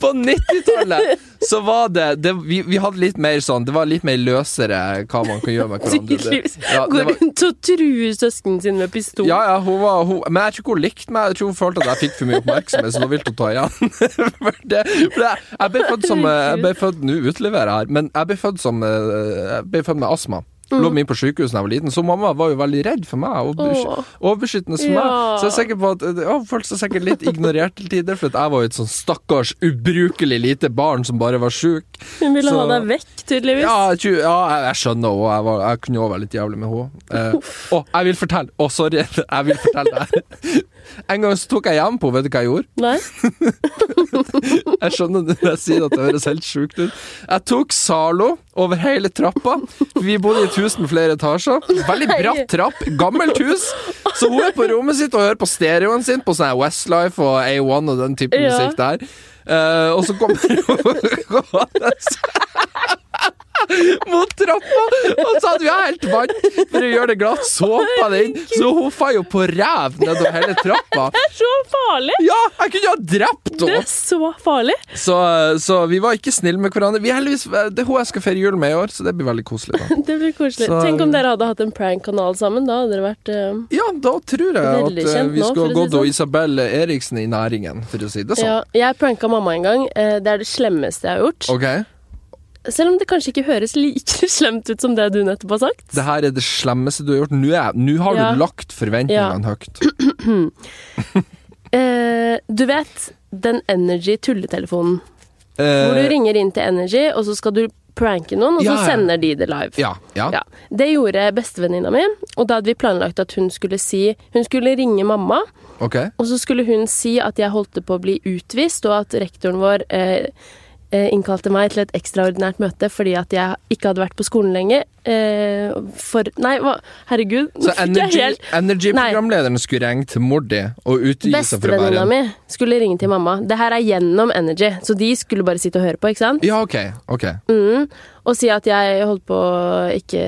[SPEAKER 2] På 90-tallet så var det, det vi, vi hadde litt mer sånn Det var litt mer løsere hva man kan gjøre med hverandre. Det-
[SPEAKER 1] Tydeligvis.
[SPEAKER 2] Ja, det
[SPEAKER 1] Går
[SPEAKER 2] var,
[SPEAKER 1] rundt og truer søsknene sine med pistol.
[SPEAKER 2] ja, ja, hun var hun, Men jeg tror ikke hun likte meg. Jeg tror hun følte at jeg fikk for mye oppmerksomhet, så nå ville hun ta igjen. for det, for det, jeg ble født som eh, Jeg ble født Nå utleverer jeg her, men jeg ble født som eh, Jeg ble født med astma. Lå mye på sykehus da jeg var liten, så mamma var jo veldig redd for meg. Og
[SPEAKER 1] Mm. Åh.
[SPEAKER 2] besky- overbeskyttende for meg.
[SPEAKER 1] Ja.
[SPEAKER 2] Så jeg er sikker på at eh, ja, hun følte seg sikkert litt ignorert til tider, for at jeg var jo et sånn stakkars ubrukelig lite barn som bare var sjuk.
[SPEAKER 1] Hun ville
[SPEAKER 2] så-
[SPEAKER 1] ha deg vekk, tydeligvis.
[SPEAKER 2] Ja, jeg, tror- ja, jeg, jeg skjønner henne. Jeg, var- jeg kunne også være litt jævlig med henne. Eh, å, jeg vil fortelle! Å, sorry. Jeg vil fortelle det her. En gang så tok jeg hjem på henne. Vet du hva jeg gjorde?
[SPEAKER 1] Nei?
[SPEAKER 2] Jeg skjønner når jeg sier at det høres helt sjukt ut. Jeg tok Zalo over hele trappa. Vi bodde i et hus med flere etasjer. Veldig bratt trapp. Gammelt hus. Så hun er på rommet sitt og hører på stereoen sin på sånn her Westlife og A1 og den type
[SPEAKER 1] Ja.
[SPEAKER 2] musikk der. Eh, og så kommer hun gående mot trappa, og så hadde vi helt vann for å gjøre det glatt. Såpa det inn, så hun fa jo på ræv nedover hele trappa.
[SPEAKER 1] Det er så farlig!
[SPEAKER 2] Ja, jeg kunne jo ha drept
[SPEAKER 1] Det
[SPEAKER 2] henne!
[SPEAKER 1] er så farlig!
[SPEAKER 2] Så, så vi var ikke snille med hverandre. Vi er heldigvis, det er hun jeg skal feire jul med i år, så det blir veldig koselig. da
[SPEAKER 1] Det blir koselig.
[SPEAKER 2] Så-
[SPEAKER 1] Tenk om dere hadde hatt en prank-kanal sammen. Da hadde dere vært eh,
[SPEAKER 2] Ja, da tror jeg at
[SPEAKER 1] Veldig
[SPEAKER 2] eh,
[SPEAKER 1] kjent
[SPEAKER 2] vi
[SPEAKER 1] nå, for å
[SPEAKER 2] skulle
[SPEAKER 1] si
[SPEAKER 2] ha gått
[SPEAKER 1] det
[SPEAKER 2] og
[SPEAKER 1] sånn.
[SPEAKER 2] Isabel Eriksen i næringen, for å si det sånn.
[SPEAKER 1] Ja, jeg pranka mamma en gang. Eh, Det er det slemmeste jeg har gjort.
[SPEAKER 2] Ok,
[SPEAKER 1] Selv om det kanskje ikke høres like slemt ut som det du nettopp har sagt.
[SPEAKER 2] Det her er det slemmeste du har gjort. Nå, er, nå har
[SPEAKER 1] Ja.
[SPEAKER 2] du lagt forventningene høyt.
[SPEAKER 1] Eh, du vet den Energy-tulletelefonen.
[SPEAKER 2] Eh,
[SPEAKER 1] Hvor du ringer inn til Energy, og så skal du pranke noen, og
[SPEAKER 2] Ja,
[SPEAKER 1] så
[SPEAKER 2] ja.
[SPEAKER 1] sender de det live.
[SPEAKER 2] ja, ja.
[SPEAKER 1] Ja. Det gjorde bestevenninna mi, og da hadde vi planlagt at hun skulle si Hun skulle ringe mamma,
[SPEAKER 2] ok.
[SPEAKER 1] og så skulle hun si at jeg holdt på å bli utvist, og at rektoren vår eh, eh, innkalte meg til et ekstraordinært møte fordi at jeg ikke hadde vært på skolen lenge. Eh, for Nei, hva Herregud. nå
[SPEAKER 2] Så
[SPEAKER 1] fikk jeg
[SPEAKER 2] energy,
[SPEAKER 1] helt-
[SPEAKER 2] Energy-programlederen skulle ringe til Mordi og utgi seg for å være
[SPEAKER 1] Bestevenninna
[SPEAKER 2] en
[SPEAKER 1] mi skulle ringe til mamma. Det her er gjennom Energy, så de skulle bare sitte og høre på, ikke sant?
[SPEAKER 2] Ja, ok. ok
[SPEAKER 1] Mm. Og si at jeg holdt på å ikke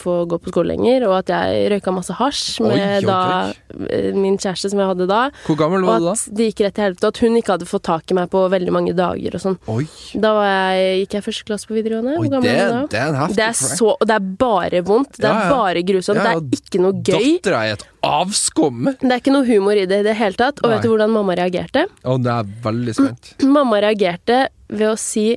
[SPEAKER 1] få gå på skole lenger, og at jeg røyka masse hasj
[SPEAKER 2] Oi,
[SPEAKER 1] med
[SPEAKER 2] oi,
[SPEAKER 1] da eh, min kjæreste som jeg hadde da,
[SPEAKER 2] Hvor gammel
[SPEAKER 1] og
[SPEAKER 2] var du da?
[SPEAKER 1] at det gikk rett til helvete, og at hun ikke hadde fått tak i meg på veldig mange dager og sånn.
[SPEAKER 2] Oi,
[SPEAKER 1] Da var jeg, gikk jeg første klasse på videregående.
[SPEAKER 2] oi
[SPEAKER 1] Hvor gammel
[SPEAKER 2] det,
[SPEAKER 1] var jeg da?
[SPEAKER 2] det er en heftig
[SPEAKER 1] Det er så, og det er bare vondt. Det er
[SPEAKER 2] Ja, ja.
[SPEAKER 1] bare grusomt.
[SPEAKER 2] Ja, ja,
[SPEAKER 1] Det er ikke noe gøy.
[SPEAKER 2] Dattera er et avskum!
[SPEAKER 1] Det er ikke noe humor i det i det hele tatt. Og
[SPEAKER 2] Nei.
[SPEAKER 1] vet du hvordan mamma reagerte?
[SPEAKER 2] Å, det er veldig spent.
[SPEAKER 1] Mamma reagerte ved å si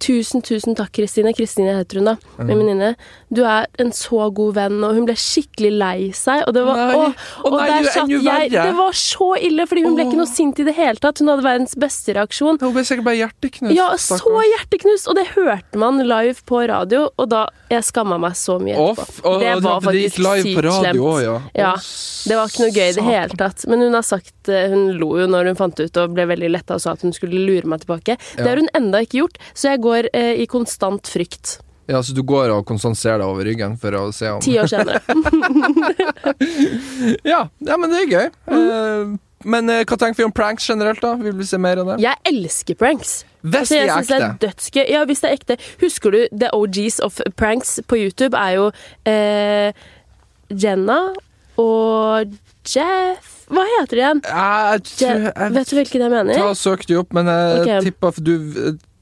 [SPEAKER 1] Tusen, tusen takk, Kristine. Kristine heter hun da,
[SPEAKER 2] Mhm.
[SPEAKER 1] min venninne. Du er en så god venn, og hun ble skikkelig lei seg. Og det var,
[SPEAKER 2] Nei.
[SPEAKER 1] Åh,
[SPEAKER 2] Å
[SPEAKER 1] og
[SPEAKER 2] nei,
[SPEAKER 1] der
[SPEAKER 2] det er
[SPEAKER 1] satt
[SPEAKER 2] enda
[SPEAKER 1] jeg,
[SPEAKER 2] verre.
[SPEAKER 1] det var så ille, fordi hun ble ikke noe sint i det hele tatt. Hun hadde verdens beste reaksjon.
[SPEAKER 2] Hun ble sikkert bare hjerteknust.
[SPEAKER 1] Ja, så hjerteknust! Og det hørte man live på radio, og da Jeg skamma meg så mye etterpå. det var faktisk sykt slemt.
[SPEAKER 2] ja.
[SPEAKER 1] Ja,
[SPEAKER 2] Å,
[SPEAKER 1] Det var ikke noe gøy i det
[SPEAKER 2] satan.
[SPEAKER 1] hele tatt. Men hun har sagt eh, Hun lo jo når hun fant det ut og ble veldig letta og sa at hun skulle lure meg tilbake. Det har hun enda ikke gjort, så jeg går eh, i konstant frykt.
[SPEAKER 2] Ja, så du går og konsenserer deg over ryggen for å se om
[SPEAKER 1] Ti år senere.
[SPEAKER 2] Ja, ja men det er gøy.
[SPEAKER 1] Mm.
[SPEAKER 2] Eh, men eh, hva tenker vi om pranks generelt, da? Vil vi se mer av det?
[SPEAKER 1] Jeg elsker pranks.
[SPEAKER 2] Hvis
[SPEAKER 1] Så altså,
[SPEAKER 2] de
[SPEAKER 1] jeg
[SPEAKER 2] er
[SPEAKER 1] synes det er
[SPEAKER 2] ekte.
[SPEAKER 1] dødsgøy. Ja, hvis det er ekte. Husker du The OGs of pranks på YouTube er jo eh, Jenna og Jeff Hva heter de igjen?
[SPEAKER 2] Jeg
[SPEAKER 1] Je
[SPEAKER 2] tror jeg
[SPEAKER 1] vet du hvilken jeg mener?
[SPEAKER 2] Ta og Søk de opp, men jeg
[SPEAKER 1] Ok.
[SPEAKER 2] tipper for du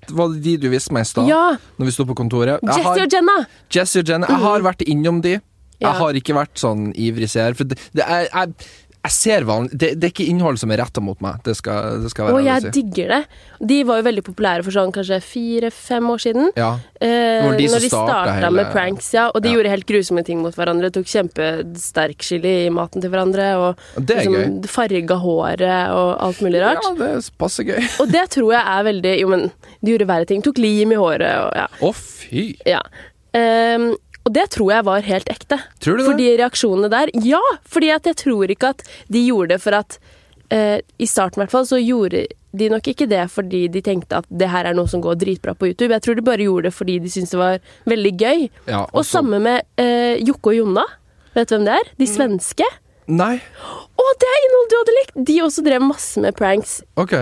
[SPEAKER 2] var det de du viste meg i stad?
[SPEAKER 1] Ja!
[SPEAKER 2] Når vi sto på kontoret? Jeg
[SPEAKER 1] Jesse
[SPEAKER 2] har,
[SPEAKER 1] og Jenna!
[SPEAKER 2] Jesse og Jenna. Jeg har vært innom de.
[SPEAKER 1] Mhm. Ja.
[SPEAKER 2] Jeg har ikke vært sånn ivrig seer. For det, det er, jeg, jeg ser vanlig det, det er ikke innhold som er retta mot meg. Det skal, det skal
[SPEAKER 1] Og
[SPEAKER 2] jeg være
[SPEAKER 1] jeg
[SPEAKER 2] ærlig å si.
[SPEAKER 1] digger det. De var jo veldig populære for sånn kanskje fire-fem år siden.
[SPEAKER 2] Ja.
[SPEAKER 1] Eh,
[SPEAKER 2] var de som
[SPEAKER 1] når de
[SPEAKER 2] starta
[SPEAKER 1] starta
[SPEAKER 2] hele-
[SPEAKER 1] med pranks, ja. Og de
[SPEAKER 2] Ja.
[SPEAKER 1] gjorde helt grusomme ting mot hverandre. Tok kjempesterk chili i maten til hverandre. Og
[SPEAKER 2] Det er gøy.
[SPEAKER 1] liksom, farga håret og alt mulig rart.
[SPEAKER 2] Ja, det er passe gøy.
[SPEAKER 1] Og det tror jeg er veldig Jo, men de gjorde verre ting. Tok lim i håret og ja.
[SPEAKER 2] Å, fy!
[SPEAKER 1] ja. Ehm, og Og det tror jeg var helt ekte.
[SPEAKER 2] Tror du det?
[SPEAKER 1] For de reaksjonene der Ja! fordi at jeg tror ikke at de gjorde det for at eh, I starten i hvert fall så gjorde de nok ikke det fordi de tenkte at det her er noe som går dritbra på YouTube. Jeg tror de bare gjorde det fordi de syntes det var veldig gøy.
[SPEAKER 2] Ja,
[SPEAKER 1] Og
[SPEAKER 2] altså-
[SPEAKER 1] samme med eh, Jokke og Jonna. Vet du hvem det er? De
[SPEAKER 2] Mm.
[SPEAKER 1] svenske.
[SPEAKER 2] Nei.
[SPEAKER 1] Å, det er innhold du hadde likt! De også drev masse med pranks.
[SPEAKER 2] Ok.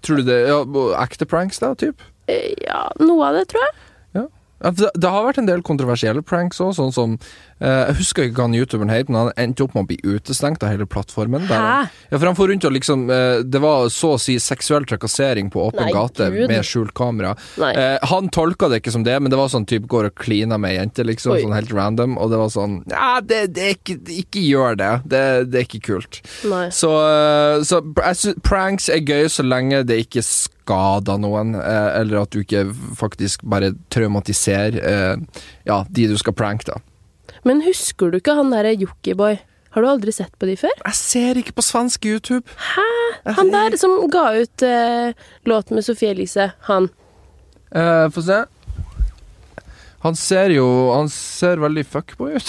[SPEAKER 2] Tror du det ja, Ekte pranks, da? Typ?
[SPEAKER 1] Eh, ja, noe av det, tror jeg.
[SPEAKER 2] Ja. Ja, for Det, det har vært en del kontroversielle pranks òg, sånn som eh, Jeg husker ikke hva han youtuberen het, men han endte opp med å bli utestengt av hele plattformen. Der han,
[SPEAKER 1] Hæ?
[SPEAKER 2] ja, for han for rundt og liksom eh, Det var så å si seksuell trakassering på åpen
[SPEAKER 1] Nei,
[SPEAKER 2] gate
[SPEAKER 1] Gud.
[SPEAKER 2] med skjult kamera.
[SPEAKER 1] Nei.
[SPEAKER 2] Eh, han tolka det ikke som det, men det var sånn type går og kliner med ei jente, liksom.
[SPEAKER 1] Oi.
[SPEAKER 2] Sånn helt random. Og det var sånn Ja, det, det er ikke, ikke gjør det. det. Det er ikke kult.
[SPEAKER 1] Nei.
[SPEAKER 2] Så, eh, så pr- jeg sy- pranks er gøy så lenge det ikke skader noen, eh, eller at du ikke faktisk bare traumatiserer eh, ja, de du skal pranke, da.
[SPEAKER 1] Men husker du ikke han derre Jokkiboi? Har du aldri sett på de før?
[SPEAKER 2] Jeg ser ikke på svensk YouTube. Hæ?
[SPEAKER 1] Han der som ga ut eh, låt med Sofie Elise, han.
[SPEAKER 2] Eh, Få se. Han ser jo Han ser veldig fuckboy ut.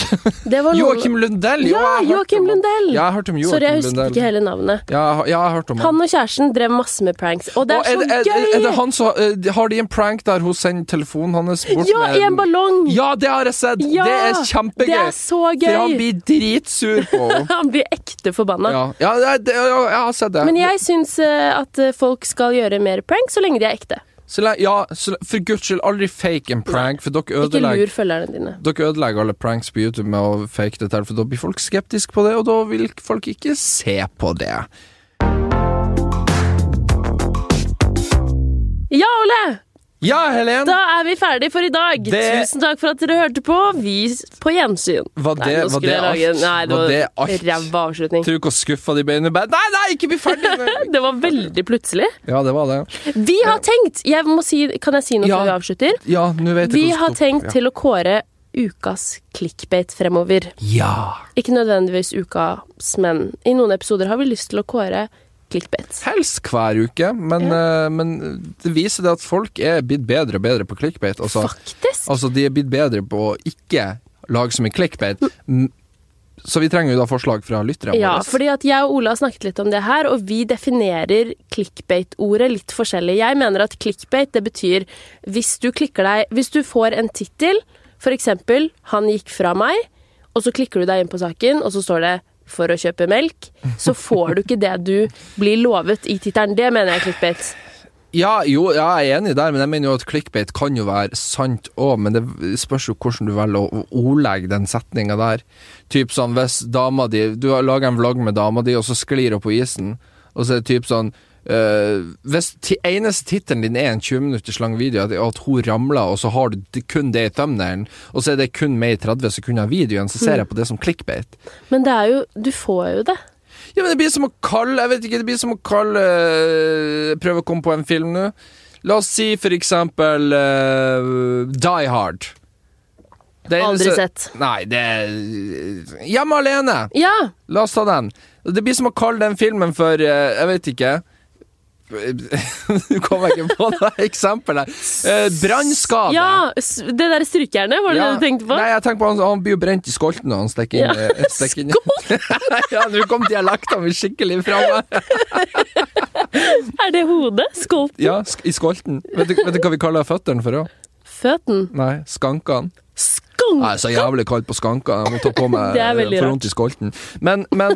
[SPEAKER 1] Det var noen...
[SPEAKER 2] Joakim Lundell! jo,
[SPEAKER 1] Ja,
[SPEAKER 2] jeg har hørt
[SPEAKER 1] Joakim
[SPEAKER 2] om han.
[SPEAKER 1] Lundell!
[SPEAKER 2] Ja, jeg har hørt om
[SPEAKER 1] Sorry, jeg
[SPEAKER 2] Joakim
[SPEAKER 1] husker
[SPEAKER 2] Lundell.
[SPEAKER 1] ikke hele navnet.
[SPEAKER 2] Ja, jeg har- ja, jeg har hørt om
[SPEAKER 1] Han og kjæresten drev masse med pranks, og det
[SPEAKER 2] Og
[SPEAKER 1] er så
[SPEAKER 2] det- er,
[SPEAKER 1] gøy!
[SPEAKER 2] er det han som eh, Har de en prank der hun sender telefonen hans bort
[SPEAKER 1] ja,
[SPEAKER 2] med
[SPEAKER 1] i en ballong!
[SPEAKER 2] Ja, det har jeg sett!
[SPEAKER 1] Ja,
[SPEAKER 2] det er kjempegøy!
[SPEAKER 1] Det er så gøy!
[SPEAKER 2] For han blir dritsur på henne.
[SPEAKER 1] Han blir ekte forbanna.
[SPEAKER 2] ja, ja, det- det- ja, jeg har sett det.
[SPEAKER 1] Men jeg syns eh, at eh, folk skal gjøre mer pranks så lenge de er ekte.
[SPEAKER 2] så, le- ja, så, le- for guds skyld, aldri fake en prank, for dere
[SPEAKER 1] Ikke
[SPEAKER 2] ødelegger
[SPEAKER 1] lur følgerne dine.
[SPEAKER 2] dere ødelegger alle pranks på YouTube med å fake det til, for da blir folk skeptiske på det, og da vil folk ikke se på det.
[SPEAKER 1] Ja, Ole!
[SPEAKER 2] Ja, Helen!
[SPEAKER 1] Da er vi ferdig for i dag.
[SPEAKER 2] Det-
[SPEAKER 1] Tusen takk for at dere hørte på. Vi s- på gjensyn.
[SPEAKER 2] Var det-
[SPEAKER 1] nei, nå
[SPEAKER 2] var
[SPEAKER 1] skulle
[SPEAKER 2] det
[SPEAKER 1] jeg lage-
[SPEAKER 2] alt?
[SPEAKER 1] Nei, det
[SPEAKER 2] Var det
[SPEAKER 1] var,
[SPEAKER 2] alt?
[SPEAKER 1] ræva avslutning.
[SPEAKER 2] Tror du ikke å skuffe de beina bare Nei, nei, ikke bli ferdig! nå!»
[SPEAKER 1] Det var veldig plutselig.
[SPEAKER 2] ja, det var det.
[SPEAKER 1] Vi har tenkt jeg må si, Kan jeg si noe
[SPEAKER 2] Ja.
[SPEAKER 1] før vi avslutter?
[SPEAKER 2] Ja, nå vet jeg
[SPEAKER 1] Vi
[SPEAKER 2] hvordan
[SPEAKER 1] har
[SPEAKER 2] det-
[SPEAKER 1] tenkt til å kåre ukas clickbait fremover.
[SPEAKER 2] Ja!
[SPEAKER 1] Ikke nødvendigvis ukas, men i noen episoder har vi lyst til å kåre clickbait.
[SPEAKER 2] Helst hver uke, men, eh, men det viser det at folk er blitt bedre og bedre på clickbait. Altså,
[SPEAKER 1] Faktisk!
[SPEAKER 2] Altså, de er blitt bedre på å ikke lage så mye clickbait. Mm. Så vi trenger jo da forslag fra lytterne
[SPEAKER 1] Ja,
[SPEAKER 2] våre.
[SPEAKER 1] fordi at jeg og Ola har snakket litt om det her, og vi definerer clickbait-ordet litt forskjellig. Jeg mener at clickbait, det betyr hvis du klikker deg Hvis du får en tittel, for eksempel 'Han gikk fra meg', og så klikker du deg inn på saken, og så står det 'For å kjøpe melk', så får du ikke det du blir lovet i tittelen. Det mener jeg er clickbait.
[SPEAKER 2] Ja, jo, ja, jeg er enig der, men jeg mener jo at clickbait kan jo være sant òg, men det spørs jo hvordan du velger å å ordlegge den setninga der. Typ sånn hvis dama di Du har laget en vlogg med dama di, og så sklir hun på isen, og så er det typ sånn eh, hvis ti- eneste tittelen din er en 20 minutters lang video, at, at hun ramler, og så har du d- kun det i thumbnailen, og så er det kun med i 30 sekunder av videoen, så ser jeg på det som clickbait.
[SPEAKER 1] Men det er jo Du får jo det.
[SPEAKER 2] Ja, men det blir som å kalle Jeg vet ikke, det blir som å kalle øh, Prøve å komme på en film nå. La oss si for eksempel øh, Die Hard. Det
[SPEAKER 1] Aldri
[SPEAKER 2] eneste-
[SPEAKER 1] sett.
[SPEAKER 2] Nei, det er Hjemme alene!
[SPEAKER 1] Ja!
[SPEAKER 2] La oss ta den. Det blir som å kalle den filmen for øh, Jeg vet ikke. Nå kommer jeg ikke på det eksempelet. Uh, Brannskade.
[SPEAKER 1] ja s- det derre strykejernet, var det
[SPEAKER 2] Ja.
[SPEAKER 1] det du tenkte på?
[SPEAKER 2] Nei, jeg tenker på han, han blir jo brent i skolten når han stikker inn.
[SPEAKER 1] Ja.
[SPEAKER 2] eh, stikker inn. ja, Nå kom dialekten min skikkelig fram. her.
[SPEAKER 1] Er det hodet? Skolten?
[SPEAKER 2] Ja, sk i skolten. Vet du, vet du hva vi kaller føttene for? da?
[SPEAKER 1] Føten?
[SPEAKER 2] Nei, skankene.
[SPEAKER 1] Skank!
[SPEAKER 2] Nei, så jævlig kaldt på skankene. Jeg må ta på meg
[SPEAKER 1] Det er veldig
[SPEAKER 2] for
[SPEAKER 1] rart.
[SPEAKER 2] vondt i skolten. Men, men,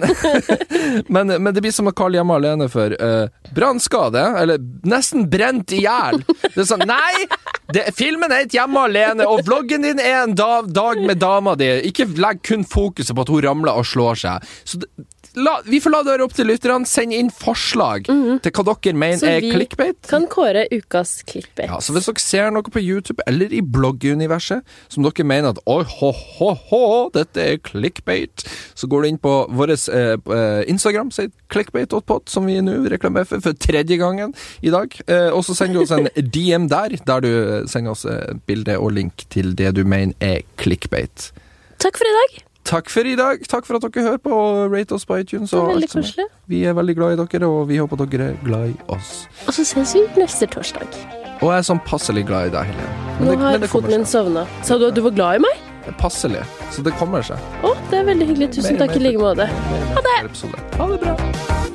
[SPEAKER 2] men, men det blir som å kalle hjemme alene for eh, brannskade, eller nesten brent i hjel. Det er sånn Nei! Det, filmen het Hjemme alene, og vloggen din er en da, dag med dama di. Ikke legg kun fokuset på at hun ramler og slår seg. Så det, la, vi får la det være opp til lytterne. Send inn forslag til hva dere mener
[SPEAKER 1] Mm. Så
[SPEAKER 2] er
[SPEAKER 1] vi-
[SPEAKER 2] clickbait.
[SPEAKER 1] Kan kåre ukas clickbait.
[SPEAKER 2] Ja, så Hvis dere ser noe på YouTube eller i blogguniverset som dere mener at oi, ho, ho, ho, dette er clickbait, så går du inn på vår eh, eh, Instagram, sier clickbait.pod, som vi nå reklamerer for for tredje gangen i dag. Eh, og så sender du oss en DM der, der du sender oss eh, bilde og link til det du mener er clickbait.
[SPEAKER 1] Takk for i dag.
[SPEAKER 2] Takk for i dag. Takk for at dere hører på og rate oss på iTunes.
[SPEAKER 1] Det var
[SPEAKER 2] Og
[SPEAKER 1] veldig
[SPEAKER 2] alt som er.
[SPEAKER 1] koselig.
[SPEAKER 2] Vi er veldig glad i dere, og vi håper dere er glad i oss.
[SPEAKER 1] Og så ses vi neste torsdag.
[SPEAKER 2] Og jeg er sånn passelig glad i deg, Helene.
[SPEAKER 1] Nå
[SPEAKER 2] Men det- men
[SPEAKER 1] har
[SPEAKER 2] det kommer
[SPEAKER 1] foten min
[SPEAKER 2] snart.
[SPEAKER 1] sovna. Sa du at du var glad i meg?
[SPEAKER 2] passelig. Så det kommer seg.
[SPEAKER 1] Å, det er veldig hyggelig. Tusen
[SPEAKER 2] Mer,
[SPEAKER 1] takk i
[SPEAKER 2] mer.
[SPEAKER 1] like måte.
[SPEAKER 2] Ha det! Ha det bra.